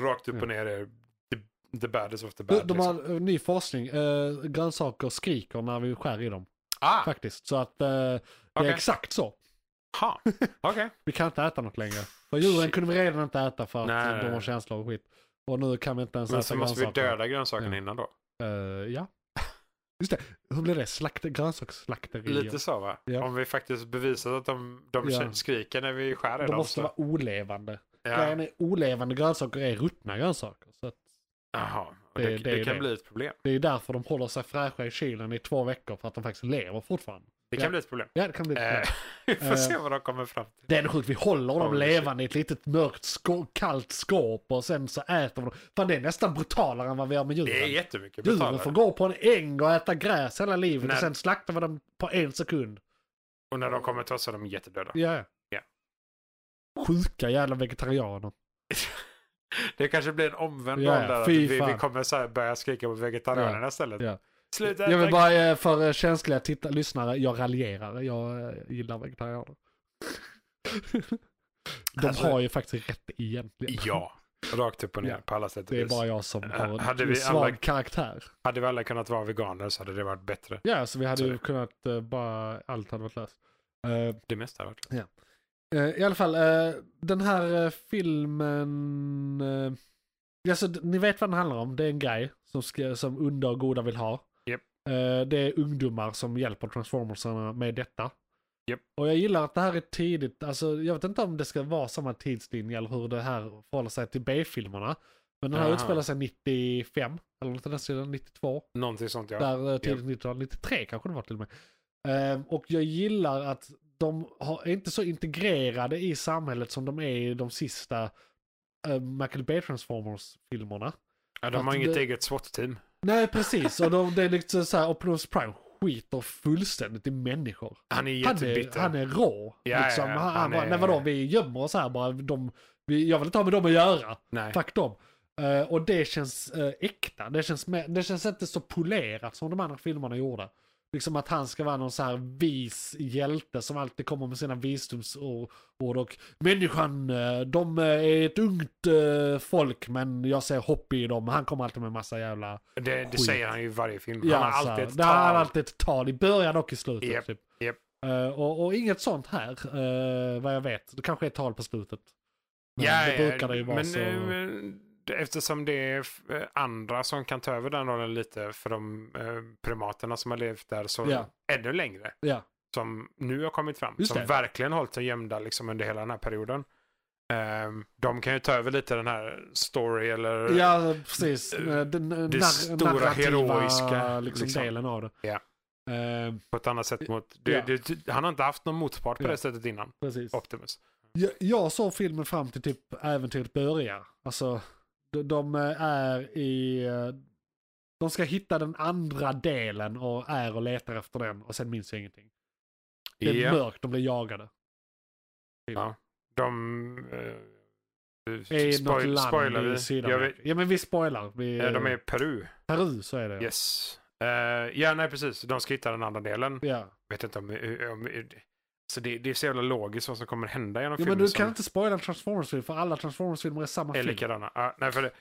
rakt upp Ja. och ner är the, the baddest of the De, bad. de liksom. har eh, ny forskning, eh, grönsaker skriker när vi skär i dem. Ah, Faktiskt. Så att eh, det Okej. är exakt så. ha. Okej. Vi kan inte äta något längre. För djuren Shit. kunde vi redan inte äta för att Nej, nej, de har nej. känslor och skit. Och nu kan vi inte ens Men äta så måste vi grönsaker. döda grönsakerna Ja. innan då. Eh, ja. Just det. Hur blir det? Slakt, grönsaksslakterier. Lite så va? Ja. Om vi faktiskt bevisat att de, de Ja. kän- skriker när vi skär i De dem. måste så- vara olevande. ja. Grejen är olevande grönsaker är ruttna grönsaker. Så att Jaha, och Det- det, det det, är ju kan det. bli ett problem. det är därför de håller sig fräscha i kylen i två veckor. För att de faktiskt lever fortfarande. Det Ja. kan bli ett problem. Ja, det kan bli ett problem. Eh, vi får Eh. se vad de kommer fram till. Det är ändå sjukt, vi håller dem Holy levande i ett litet mörkt skå- kallt skåp och sen så äter vi dem. Fan det är nästan brutalare än vad vi gör med Det är djuren. jättemycket Djuren får betalare. gå på en äng och äta gräs hela livet och Nej. sen slaktar vi dem på en sekund. Och när de kommer till oss så är de jättedöda. Ja. Ja. Sjuka jävla vegetarianer. Det kanske blir en omvänd Ja, roll där. att fy Vi, vi fan. kommer så här börja skrika på vegetarianerna istället. ja. Sluta Jag vill äta bara eh, för eh, känsliga titta- lyssnare, jag raljerar. Jag eh, gillar vegetarianer. De Alltså- har ju faktiskt rätt egentligen. Ja, rakt upp och ner Ja. på alla sätt och Det är vis. bara jag som har en Hade vi svag alla- karaktär. Hade vi alla kunnat vara veganer så hade det varit bättre. Ja, så vi hade Så ju det- kunnat eh, bara, allt hade varit löst. Eh, Det mesta hade varit. eh, I alla fall, eh, den här eh, filmen... eh, alltså, d- ni vet vad den handlar om. Det är en grej som, ska, som onda och goda vill ha. Japp. Eh, det är ungdomar som hjälper transformersarna med detta. Japp. Och jag gillar att det här är tidigt. Alltså, jag vet inte om det ska vara samma tidslinje eller hur det här förhåller sig till B-filmerna. Men den här Aha. utspelar sig 95, eller något i den stilen, 92. Någonting sånt ja. Där eh, tidigt 90-tal, 93 kanske det var till och med. Ehm, och jag gillar att de har, är inte så integrerade i samhället som de är i de sista uh, Michael Bay Transformers-filmerna. ja de har att inget det- eget SWAT-team. Nej, precis. Och de, det är liksom så här, Optimus Prime skiter fullständigt i människor. Han är Han är, jättebitter. han är rå. Ja, ja, liksom. ja. Han, han Han bara, är- nej vadå, vi gömmer oss här bara. De, vi, jag vill inte ha med dem att göra. Nej. Fuck dem. Eh, och det känns eh, äkta. Det känns, mer- det känns inte så polerat som de andra filmerna gjorde. Liksom att han ska vara någon så här vis hjälte som alltid kommer med sina visdomsord. Och människan, eh, de eh, är ett ungt eh, folk men jag ser hopp i dem. Han kommer alltid med massa jävla... Det, det Skit. säger han ju i varje film. Ja, han har så här. alltid ett Det har han tal. alltid ett tal. I början och i slutet. Japp, typ. japp. Eh, och, och inget sånt här, eh, vad jag vet. Det kanske är ett tal på slutet. Men det brukar det ju vara men, så. eh, men det- Eftersom det är f- eh, andra som kan ta över den rollen lite för de eh, primaterna som har levt där så Ja. ännu längre. Ja. Som nu har kommit fram. Just som det. verkligen hållit sig gömda liksom, under hela den här perioden. Ehm, de kan ju ta över lite den här story eller... Ja, precis. Eh, Den eh, Eh, det nar- stora narrativa, heroiska, liksom, liksom. delen av det. Ja. Eh, På ett annat sätt mot... Det, Ja. det, han har inte haft någon motpart på Ja. det sättet innan. precis. Optimus. Jag, jag såg filmen fram till typ äventyret börjar. Alltså, de, de eh, är i... eh, De ska hitta den andra delen och är och letar efter den och sen minns jag ingenting. Det är Ja. mörkt, de blir jagade. Ja. De... Eh, Är i något land spoilar i vi. Jag Sydamerika. vet, Ja men vi spoilar. Vi, eh, de är i Peru. Peru så är det. Yes. Eh, ja, nej precis. De ska hitta den andra delen. Ja. vet inte om... eh, om så det, det är så jävla logiskt vad som kommer hända genom ja men filmen. du som kan inte spoila en Transformers-film för alla Transformers-filmer är samma Är film. likadana. Ja, nej, för det,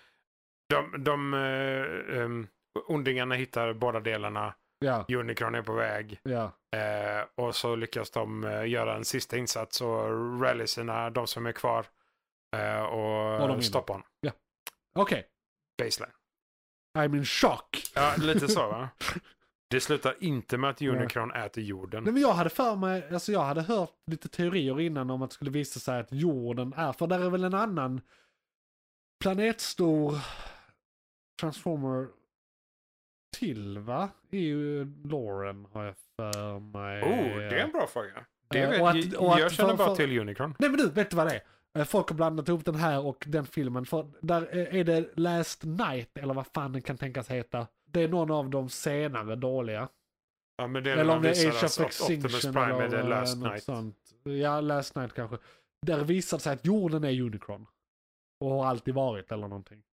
de de eh, em, ondingarna hittar båda delarna. Ja, Unicron är på väg. ja, eh, och så lyckas de eh, göra en sista insats och rally sina, de som är kvar. eh, och Och de vinner. stoppa honom. okej. Baseline. I'm in shock. Ja, lite så va? Det slutar inte med att Unicron äter jorden. Nej, men jag hade för mig, alltså jag hade hört lite teorier innan om att det skulle visa sig att jorden är, för där är väl en annan planetstor transformer till va? I ju Lauren har jag för mig. Oh, det är en bra fråga. Det Eh, vet, och att- jag- och att- jag känner för- bara för- till Unicron. Nej men du, vet du vad det är? Eh, Folk har blandat ihop den här och den filmen. För där eh, är det Last Night, eller vad fan den kan tänkas heta. Det är någon av de senare dåliga. Ja, men det är Eller om det visar är Age alltså of att Extinction Optimus Prime är eller The Last något Night. sånt. Ja, Last Night kanske. Där visar det sig att jorden är Unicron. Och har alltid varit eller någonting.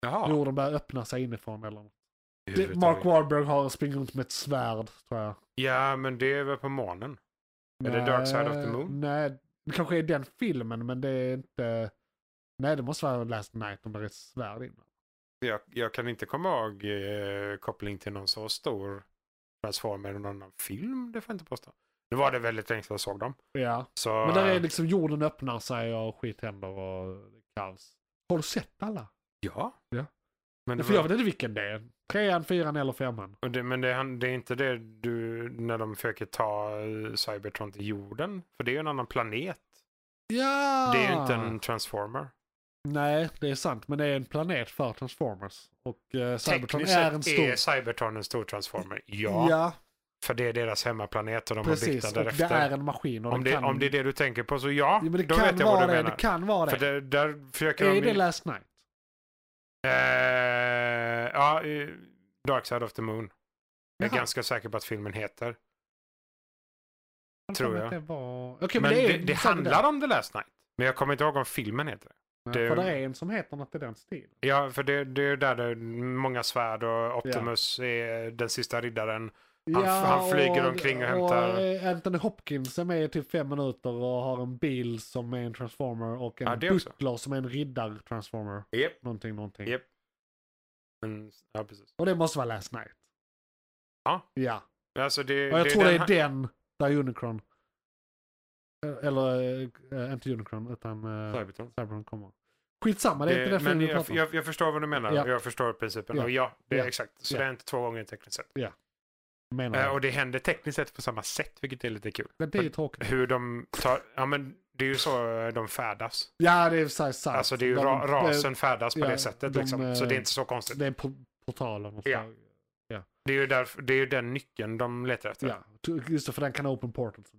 Jaha. Jorden börjar öppna sig inifrån eller något. Det, Överhuvudtaget. Mark Wahlberg har springer runt med ett svärd tror jag. Ja, men det är väl på månen. Är det Dark Side of the Moon? Nej, det kanske är den filmen men det är inte... Nej, det måste vara Last Night om det är ett svärd innan. Jag, jag kan inte komma ihåg eh, koppling till någon så stor transformer eller någon annan film. Det får jag inte påstå. Nu var det väldigt länge sedan jag såg dem. Ja, Så, men där är liksom jorden öppnar sig och skit händer och kaos. Har du sett alla? Ja. Ja. Men, det För jag var, vet inte vilken det är. Trean, fyran eller femman. och det, men det, är han- det är inte det du, när de försöker ta eh, Cybertron till jorden. För det är ju en annan planet. Ja! Det är ju inte Ah. en transformer. Nej, det är sant. Men det är en planet för Transformers. Och eh, Cybertron Tekniskt är sett en stor... är Cybertron en stor transformer. Ja, ja för det är deras hemmaplanet och de har byggt precis. den Och det är därefter. en maskin. Och Om den det, kan... om det är det du tänker på så ja, Ja, men det då kan vet jag vad vara du det. menar. Det kan vara För det. det, där försöker Är de... det Last Night? Eh, ja, eh, Dark Side of the Moon. Jag är Jaha. ganska säker på att filmen heter. Jag tror tror jag. att Det var... Okej, men det, är det, säkert handlar om The Last Night. Men jag kommer inte ihåg om filmen heter det. Ja, det- För det är en som heter något i den stilen. Ja, för det, det är där det är många svärd och Optimus är den sista riddaren. Han- han flyger omkring och hämtar- eh, Anthony Hopkins är med i typ fem minuter och har en bil som är en transformer och en Ja, det också. butler som är en riddar-transformer. Japp. Någonting, någonting. Japp. Mm, ja, precis. Och det måste vara Last Night. Ja. Ja. Alltså det, Och jag det, tror det är han- den där Unicron. eh, Eller, eh, inte Unicron, utan eh, Cybertron. Cybertron kommer. Skitsamma, det är inte Det- den men filmen vi jag, pratar om. jag, jag förstår vad du menar Ja. och jag förstår principen. Ja. Och ja, det är Ja. exakt. Så Ja. det är inte två gånger tekniskt sett. Menar Eh, jag. och det händer tekniskt sett på samma sätt, vilket är lite kul. Men det är ju tråkigt. Hur de tar, ja men det är ju så eh, de färdas. Ja, det är så här sant. Alltså det är ju De- ra, de- rasen färdas på ja, det sättet de, liksom. Så eh, det är inte så konstigt. Det är po- portalen och så. Ja. Det är ju, därför, det är ju den nyckeln de letar efter. Ja, just det, för den kan ha open portals.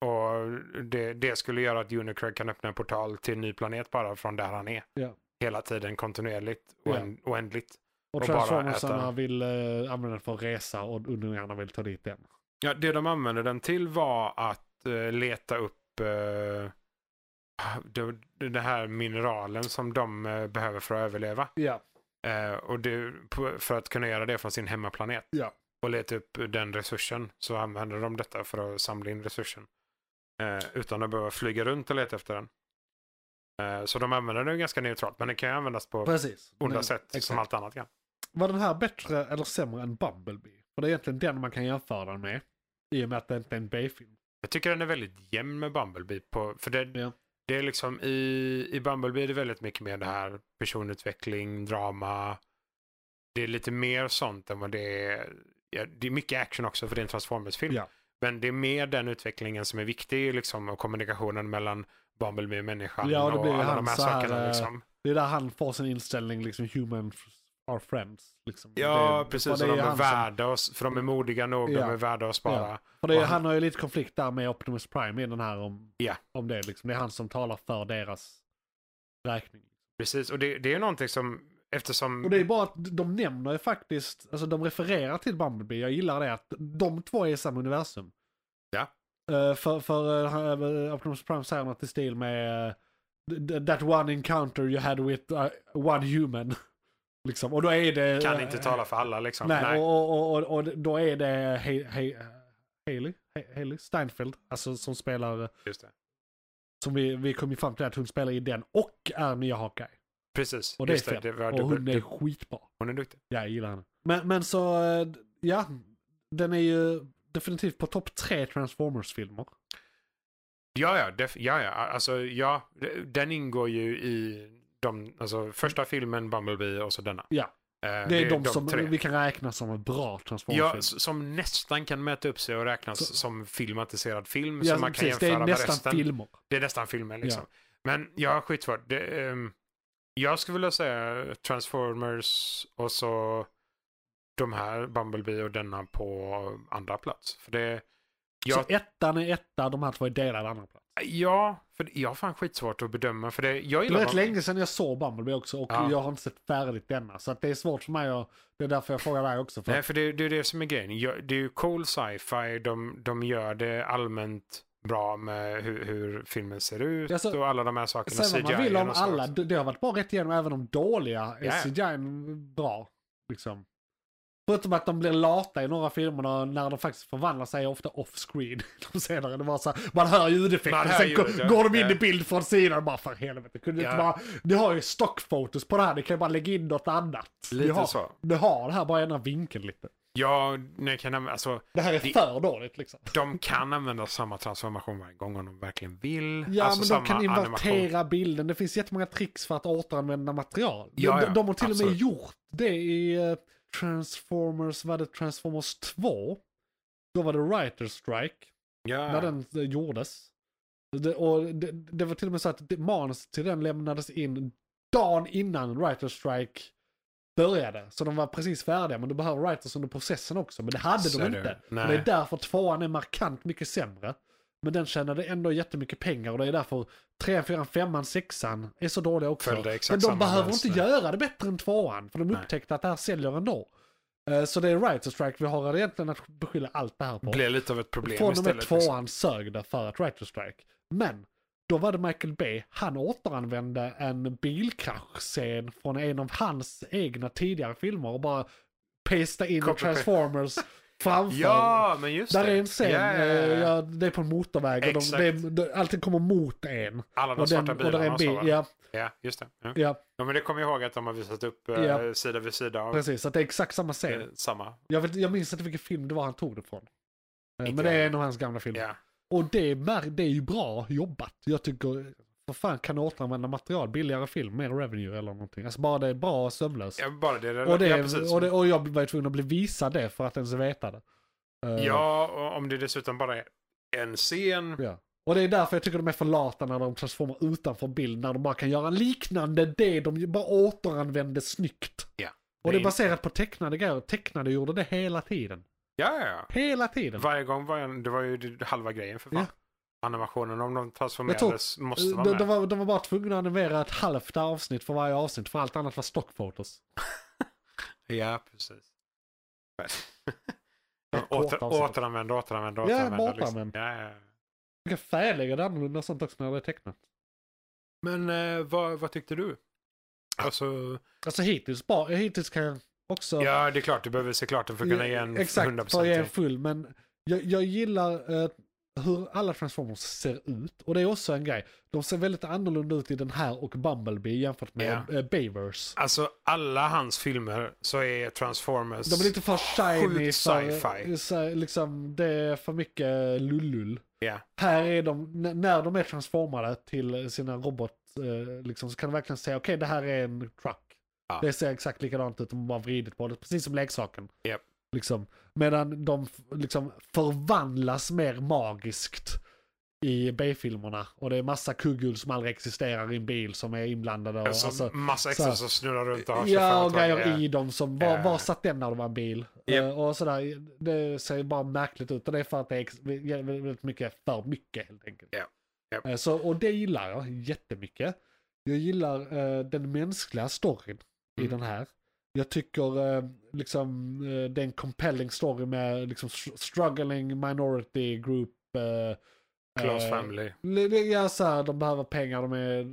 Och det, det skulle göra att Unicred kan öppna en portal till en ny planet bara från där han är. Ja. Hela tiden kontinuerligt, Ja. oänd, oändligt. Och, Och bara transformersarna äta. vill eh, använda den för att resa och undringarna vill ta dit den. Ja, det de använde den till var att eh, leta upp eh, det, den här mineralen som de eh, behöver för att överleva. Ja. Eh, och det, på, för att kunna göra det från sin hemmaplanet. Ja. Och leta upp den resursen så använder de detta för att samla in resursen. Eh, utan att behöva flyga runt och leta efter den. Eh, så de använder den ganska neutralt. Men den kan ju användas på Precis. onda Men- sätt som exakt. allt annat kan. Var den här bättre eller sämre än Bumblebee? För det är egentligen den man kan jämföra den med. I och med att det inte är en B-film. Jag tycker den är väldigt jämn med Bumblebee. På, för det, Ja. Det är liksom i, i Bumblebee är det väldigt mycket mer det här personutveckling, drama. Det är lite mer sånt än vad det är. Ja, det är mycket action också för det är en Transformers-film. Ja. Men det är mer den utvecklingen som är viktig liksom, och kommunikationen mellan Bumblebee och människan Ja, och det och blir ju alla han de här så här, sakerna. eh, Liksom. Det är där han får sin inställning, liksom human are friends. Liksom. Ja, det, precis. för Och det de är han som- Mm. värda oss, för de är modiga nog, Ja. de är värda att spara. För det är, Och han- han har ju lite konflikt där med Optimus Prime i den här om, Ja. om det. Liksom. Det är han som talar för deras räkning. Precis, och det, det är ju någonting som, eftersom... Och det är bara att de nämner ju faktiskt, alltså de refererar till Bumblebee. Jag gillar det att de två är i samma universum. Ja. Eh, för för eh, Optimus Prime säger något i stil med eh, that one encounter you had with eh, one human. liksom. Och då är det... eh, kan inte tala för alla liksom. Nej, Nej, Och, och, och, och då är det He- He- Haley, He- Haley Steinfeld, alltså som spelar, just det. som vi, vi kom ju fram till att hon spelar i den och är nya Hawkeye. Precis, Och det just är fett. det. var och dubbel- hon är dubbel- skitbra. hon är duktig. Ja, jag gillar henne. Men, men så, eh, ja, den är ju definitivt på topp tre Transformers-filmer. Ja, ja, def, ja, ja. Alltså, ja, det- den ingår ju i de, alltså, första filmen, Bumblebee och så denna. Ja. Eh, Det är, de, som tre. vi kan räkna som bra Transformers-filmer. Ja, s- som nästan kan mäta upp sig och räknas Så- som filmatiserad film. Ja, som man kan precis, jämföra Det är med nästan resten. filmer. Det är nästan filmen liksom. Men ja, skitsvårt. Det, ehm, jag skulle vilja säga Transformers och så de här, Bumblebee och denna på andra plats. För det, jag, Så ettan är etta, de här två är delade andra plats. ja, för det- jag har fan skitsvårt att bedöma. För det, jag Det var gillar rätt Bumble- länge sedan jag såg Bumblebee också och Ja. jag har inte sett färdigt denna. Så att det är svårt för mig och det är därför jag frågar dig också. För Nej, för det, det är det som är grejen. Jag, det är ju cool sci-fi. De, de gör det allmänt bra med hur, hur filmen ser ut Alltså, och alla de här sakerna. Sen vad man vill CGI om och så alla, också. det, det har varit bra rätt igenom, även om dåliga Ja. är CGI bra. Liksom. Förutom att de blir lata i några av filmerna när de faktiskt förvandlar sig ofta off-screen. De senare, det var så här, man hör ljudeffekter, Man hör sen ljudet, ja. går, går de in i Ja. bild från sidan och bara för helvete. Kunde Ja. inte bara, ni har ju stockfotos på det här, ni kan ju bara lägga in något annat. ni, Lite har, så. ni har det här, bara ändra vinkeln lite. Ja, nej, kan jag, alltså, Det här är Det- för dåligt liksom. De kan använda samma transformation varje gång om de verkligen vill. Ja, Alltså men samma de kan invertera animation. bilden. Det finns jättemånga tricks för att återanvända material. De- Ja, ja, de, de har till och med absolut. gjort det i eh, Transformers, vad är det, Transformers 2? Då var det Writer Strike, när Ja, den eh, gjordes. Det, och det, det var till och med så att det- manuset till den lämnades in dagen innan Writer Strike började. Så de var precis färdiga, men du behöver writers under processen också. Men det hade Så de är det. inte. Nej. Och det är därför tvåan är markant mycket sämre. Men den tjänade ändå jättemycket pengar och det är därför trean, fyran, femman, sexan är så dåliga också. Följde exakt Men de samma behöver mönster. inte göra det bättre än tvåan, för de Nej. upptäckte att det här säljer ändå. Eh, Så det är writer strike vi har egentligen att beskylla allt det här på. blir lite av ett problem Från och med istället. liksom. tvåan sög det för att Writer Strike. Men då var det Michael Bay, han återanvände en bilkraschscen från en av hans egna tidigare filmer och bara pesta in Copy-paste. Transformers framför. Ja, men just Där det. är en scen, Ja, ja, ja. eh, ja, det är på en motorväg och de, Exakt. det, är- det, allting kommer mot en. Alla de och svarta och där är bilarna en och så, bil, va? ja, Ja, just det. Ja. ja, Ja, men det kommer jag ihåg att de har visat upp eh, Ja. sida vid sida av precis. Så att det är exakt samma scen. eh, samma. Jag, vet, jag minns inte vilken film det var han tog det från. Eh, Inte Men det jag. är en av hans gamla filmer. Ja. Och det är, mär- det är ju bra jobbat. Jag tycker, vad fan kan du återanvända material? Billigare film, mer revenue eller någonting. Alltså bara det är bra och sömlöst. Ja, bara det. och, det, ja, precis. och, det, och jag var ju tvungen att bli visad det för att ens veta det. Eh, ja, och om det dessutom bara är en scen. ja. Och det är därför jag tycker de är för lata när de transformar utanför bild. När de bara kan göra en liknande det de ju bara återanvänder snyggt. Ja. Och det är in- baserat på tecknade grejer. Tecknade gjorde det hela tiden. Ja, ja, ja. Hela tiden. Varje gång var en, det var ju det- halva grejen för fan. Animationen, om de transformerades, måste vara eh, De, med. de, var, de var bara tvungna att animera ett halvt avsnitt för varje avsnitt. För allt annat var stockfotos. Ja, precis. Ja, Åter, korta avsnitt. återanvänd, återanvänd, Ja, återanvänd. bara liksom. återanvänd. Ja, ja. ja. Man kan färglägga det annorlunda och sånt också när det är tecknat. Men eh, vad, vad tyckte du? Alltså, Alltså hittills, bara, hittills kan jag också... ja det är klart, du behöver se klart den för att kunna ge en Exakt, 100% för att ge en till. full. Men jag, jag gillar eh, hur alla Transformers ser ut. Och det är också en grej. De ser väldigt annorlunda ut i den här och Bumblebee jämfört med Ja. eh, Bayverse. Alltså alla hans filmer så är Transformers... De är lite för shiny. Sjukt för- sci-fi. så här, Liksom, det är för mycket lullull. Ja. Här är de, n- när de är transformade till sina robot, eh, liksom, så kan du verkligen säga okej det här är en truck. Ja. Det ser exakt likadant ut om man bara vridit på det, precis som leksaken. Japp. Liksom. Medan de f- liksom förvandlas mer magiskt i B-filmerna. Och det är massa kugghjul som aldrig existerar i en bil som är inblandade. Och, Alltså, alltså, massa så extra här. som snurrar runt och har 25 Ja, och tag. Ja. grejer i dem som, var, Ja. var satt den när det var en bil? Japp. Eh, Och sådär, det ser bara märkligt ut. Och det är för att det är ex- väldigt mycket för mycket helt enkelt. Ja. Japp. Eh, Så, och det gillar jag jättemycket. Jag gillar eh, den mänskliga storyn i Mm. den här. Jag tycker eh, liksom eh, det är en compelling story med liksom str- struggling minority group. Eh, Close eh, family. li- li- Ja, så här, de behöver pengar, de är,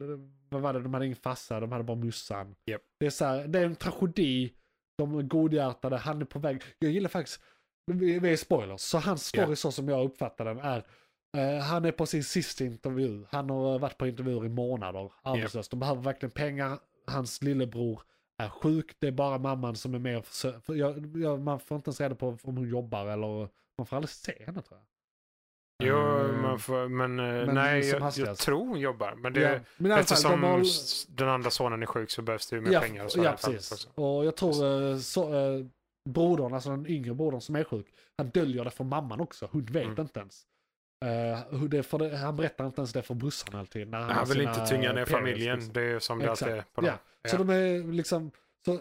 vad var det, de hade ingen farsa, de hade bara mussan. Japp. Det, är så här, det är en tragedi, de är godhjärtade, han är på väg. Jag gillar faktiskt, vi, vi är spoilers, så hans story Japp. så som jag uppfattar den är, eh, han är på sin sista intervju, han har eh, varit på intervjuer i månader, arbetslös, de behöver verkligen pengar, hans lillebror är sjuk, det är bara mamman som är med och försö- för jag, jag, Man får inte ens reda på om hon jobbar eller, man får aldrig se henne tror jag. Jo, Eh, man får, men, eh, men nej, som jag, jag hastigast. tror hon jobbar. Men det, ja. men i alla fall, eftersom de har- s- den andra sonen är sjuk så behövs det ju mer ja, pengar. Och så ja, här framåt precis. också. Och jag tror eh, så, eh, brodern, alltså den yngre brodern som är sjuk, han döljer det för mamman också. Hon vet Mm. inte ens. Eh, hur det är för det, han berättar inte ens det för brorsan alltid. När har Han vill sina inte tynga ner parents, familjen. liksom. Det är ju som det alltid är Exakt. på dem. Ja. Så Ja. de är liksom... Så,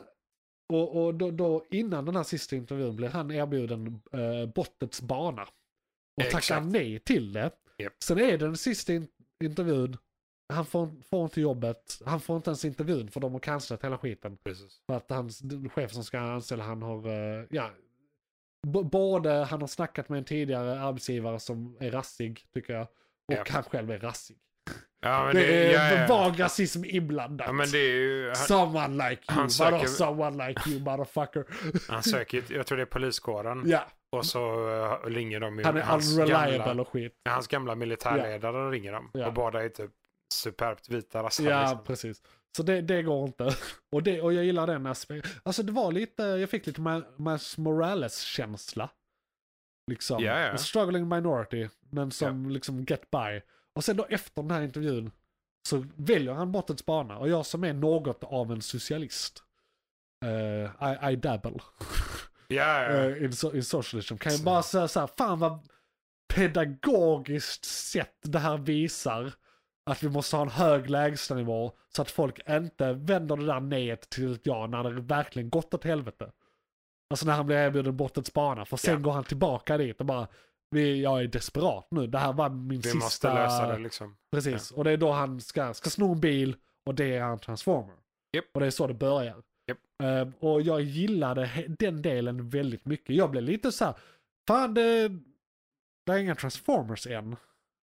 och och då, då, innan den här sista intervjun blir han erbjuden eh, bottets bana. Och Exakt. tackar nej till det. Japp. Sen är det den sista in, intervjun. Han får, får inte jobbet. Han får inte ens intervjun för de har cancelat hela skiten. Precis. För att hans den chef som ska anställa han har, eh, ja, b- både han har snackat med en tidigare arbetsgivare som är rassig tycker jag. Och Ja. han själv är rassig. Ja, men det, är ja, ja. vag rasism inblandat. Ja, men det är ju, han, Someone like you, han vadå söker- someone like you motherfucker? han söker, jag tror det är poliskåren. ja, Och så eh, ringer de ju. han är hans unreliable gamla- och skit. Hans gamla militärledare ringer dem. Ja. Och båda är typ superbt vita rassar. Ja, liksom. precis. Så det, det går inte. Och, det, och jag gillar den aspekten. Alltså det var lite, jag fick lite Ma- Miles Morales-känsla. Liksom. Ja, ja. En struggling minority, men som liksom get by. Och sen då efter den här intervjun så väljer han bort ett spana. Och jag som är något av en socialist. eh, I, I dabble Ja, ja. eh, in, so- in socialism. Kan jag bara säga så här, fan vad pedagogiskt sätt det här visar att vi måste ha en hög lägstanivå så att folk inte vänder det där nejet till ett ja när det verkligen gått åt helvete. Alltså när han blir erbjuden bortåt Spana, för sen Ja. går han tillbaka dit och bara vi, jag är desperat nu, det här var min vi sista... måste lösa det liksom. Precis, och det är då han ska, ska sno en bil och det är han transformer. Japp. Och det är så det börjar. Japp. Ehm, och jag gillade he- den delen väldigt mycket. Jag blev lite så här, fan det, det är inga transformers än.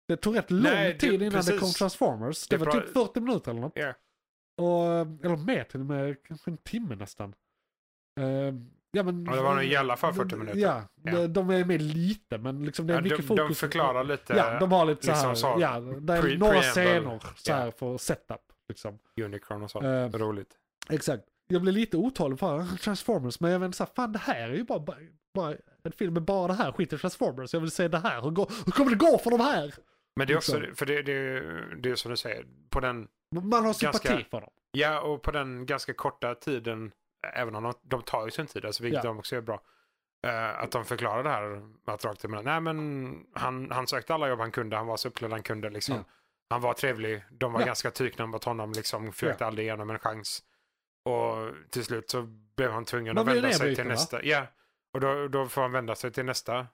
Det tog rätt lång Nej, det- tid innan det precis. kom transformers. Det, Det var pra- typ 40 minuter eller något. Ja. Och, eller mer till och med, kanske en timme nästan. Ehm, ja, men, Ja, det var nog i alla fall 40 minuter. Ja, Ja. De, de är med lite men liksom det är Ja, mycket de, fokus. de förklarar lite Ja, de har lite liksom så här, så- ja, det är pre- några preamble. scener så här Ja. för setup. Liksom. Unicron och så. Eh, Roligt. exakt. Jag blev lite otålig för "Ah, Transformers, men jag vet inte så här, fan det här är ju bara, bara, bara en film med bara det här, skit i Transformers, jag vill se det här, hur, går, hur kommer det gå för de här? Men det är också, liksom. för det, det, det är som du säger, på den, Man har sympati Ganska- för dem. ja, och på den ganska korta tiden, även om de, de tar ju sin tid, alltså, vilket Ja. de också är bra, eh, att de förklarar det här att rakt emellan. Nej, men han, han sökte alla jobb han kunde, han var så uppklädd han kunde liksom. Ja. Han var trevlig, de var Ja. ganska tykna mot honom, liksom, försökte aldrig ge honom en chans. Och till slut så blev han tvungen Man att blir vända sig till nedbruten, va? nästa. Ja, och då, då får han vända sig till nästa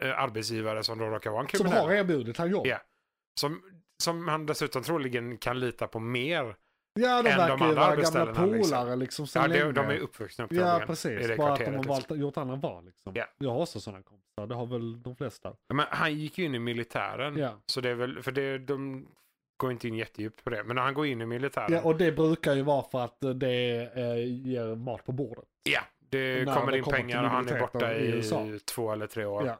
eh, arbetsgivare som då råkar vara en Som kriminell. har erbjudit han jobb. Ja. Som, som han dessutom troligen kan lita på mer. Ja, de Än de verkar ju vara andra gamla arbetsställena, liksom. polare liksom sen Ja, länge. de, de är uppvuxna upp Ja, precis. i det Bara att de kvarteret, har liksom. valt, gjort andra val. Liksom. Ja. Jag har också sådana kompisar, det har väl de flesta. Men han gick ju in i militären. Ja. Så det är väl, för det, de går inte in jättedjupt på det. Men han går in i militären. Ja, och det brukar ju vara för att eh, det eh, ger mat på bordet. Ja, det När kommer det in kommer pengar till och han är biblioteken borta i i, USA. två eller tre år. Ja.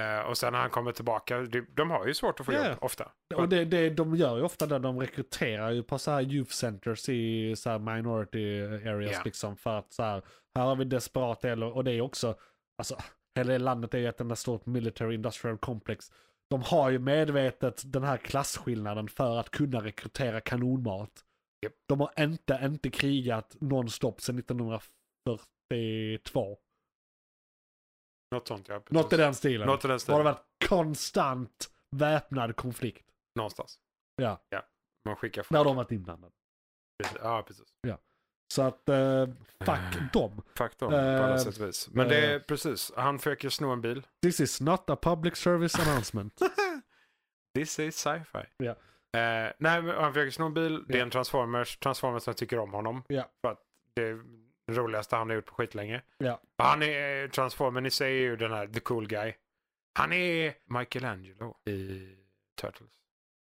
Eh, och sen när han kommer tillbaka, de, de har ju svårt att få Ja. jobb ofta. Och det, det, de gör ju ofta det, de rekryterar ju på så här youth centers i så här minority areas Ja. liksom. För att så här, här har vi desperat eller och det är också, alltså hela det landet är ju ett enda stort military industrial complex. De har ju medvetet den här klasskillnaden för att kunna rekrytera kanonmat. Japp. De har inte, inte krigat nonstop sedan 1942. Något sånt ja. precis. Något i den stilen. Något i den Det har stilen. det varit konstant väpnad konflikt. Någonstans. Ja. Man skickar folk. När de varit inblandade. Precis. Ja, precis. Så att, eh, fuck dem. Faktum Eh, på alla sätt och vis. Men eh. det är precis. Han försöker sno en bil. This is not a public service announcement. This is sci-fi. Ja. Eh, nej, men han försöker sno en bil. Det Ja. är en Transformers. Transformers som tycker om honom. Ja. För att det är det roligaste han har gjort på skitlänge. Ja. Han är, eh, Transformern i sig är ju den här the cool guy. Han är Michelangelo i Turtles.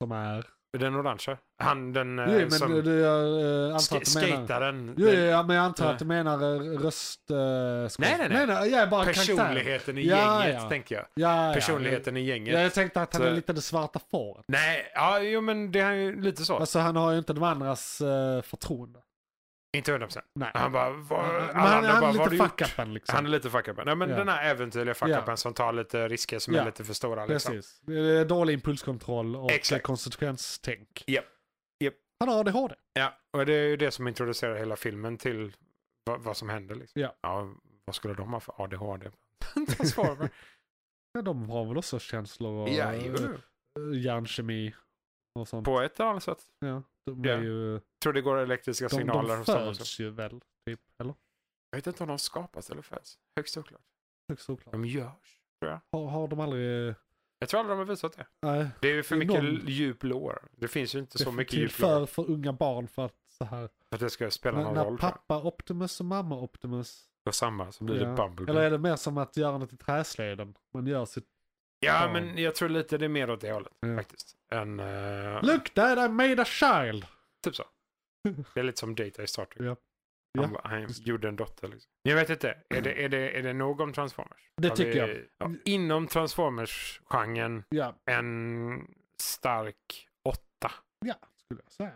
som är... Den orangea. Han den eh, Jo, men som... du, du, jag eh, antar att Sk- du menar... skataren. Jo, jo, ja, men jag antar Nej. att du menar eh, röst... Eh, skådis- Nej, nej, nej. jag är bara karaktär. Personligheten i Ja, gänget, ja. tänker jag. Ja, ja. Personligheten i Ja, gänget. jag tänkte att han Så- är lite det svarta fåret. Nej, ja, jo men det är ju lite så. Alltså han har ju inte de andras eh, förtroende. Inte 100 procent. Nej. Han bara, vad, Men alla han, andra han bara, är vad har du lite gjort? fuck-upen liksom. Han är lite fuck Nej men Ja. den här äventyrliga fuck Ja. som tar lite risker som Ja. är lite för stora. Liksom. Precis. Det är Dålig impulskontroll och Exakt. konsekvenstänk. Japp. Japp. Han har ADHD. Ja, och det är ju det som introducerar hela filmen till vad, vad som händer. Liksom. Ja. vad skulle de ha för ADHD? Transformer. Ja, de har väl också känslor och ja, eh, jo. hjärnkemi och sånt. På ett eller annat sätt. Ja, de, Ja. är ju, Tror det går elektriska de, signaler. de och sånt också. föds ju väl, typ. Eller? Jag vet inte om de skapas eller föds. Högst oklart. Högst oklart. De görs. Har, har de aldrig... Jag tror aldrig de har visat det. Nej, Det är ju för Det är mycket någon- djup lore. Det finns ju inte det så är mycket till djup för, lore. för unga barn för att så här. För att det ska spela När, någon när roll. tror jag. pappa Optimus och mamma Optimus. Och samma så blir Ja. det Bumblebee. Eller är det mer som att göra något i träsleden? Man gör sitt... Ja, Ja. men jag tror lite det är mer åt det hållet Ja. faktiskt. Än, eh, Look dad I made a child! typ så. Det är lite som Data i Star Trek. Ja. Han, Ja. var- han gjorde en dotter. Liksom. Jag vet inte, är det, är det, är det någon Transformers? Det Har tycker vi- Ja, inom Transformers-genren, Ja, en stark åtta. ja skulle jag säga.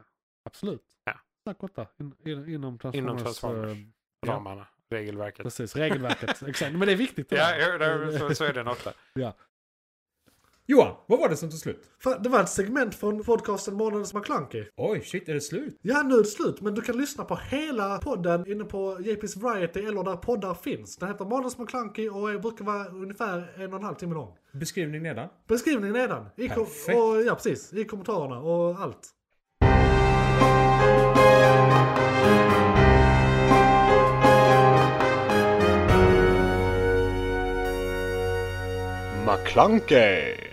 Absolut. Ja. Tack åtta. In, in, inom Transformers. Inom Transformers. eh, Ja. Ramarna, regelverket. precis, regelverket. Exakt. Men det är viktigt. det Ja, där. ja, där- så, så är det en åtta. Johan, vad var det som tog slut? Fan, Det var ett segment från podcasten Månadens McKlunky. Oj, shit, är det slut? Ja, nu är det slut, men du kan lyssna på hela podden inne på JP's Variety eller där poddar finns. Den heter Månadens McKlunky och är- brukar vara ungefär en och en halv timme lång. Beskrivning nedan. Beskrivningen nedan. I kom- Perfekt. och, ja, precis. I kommentarerna och allt. McClunkey.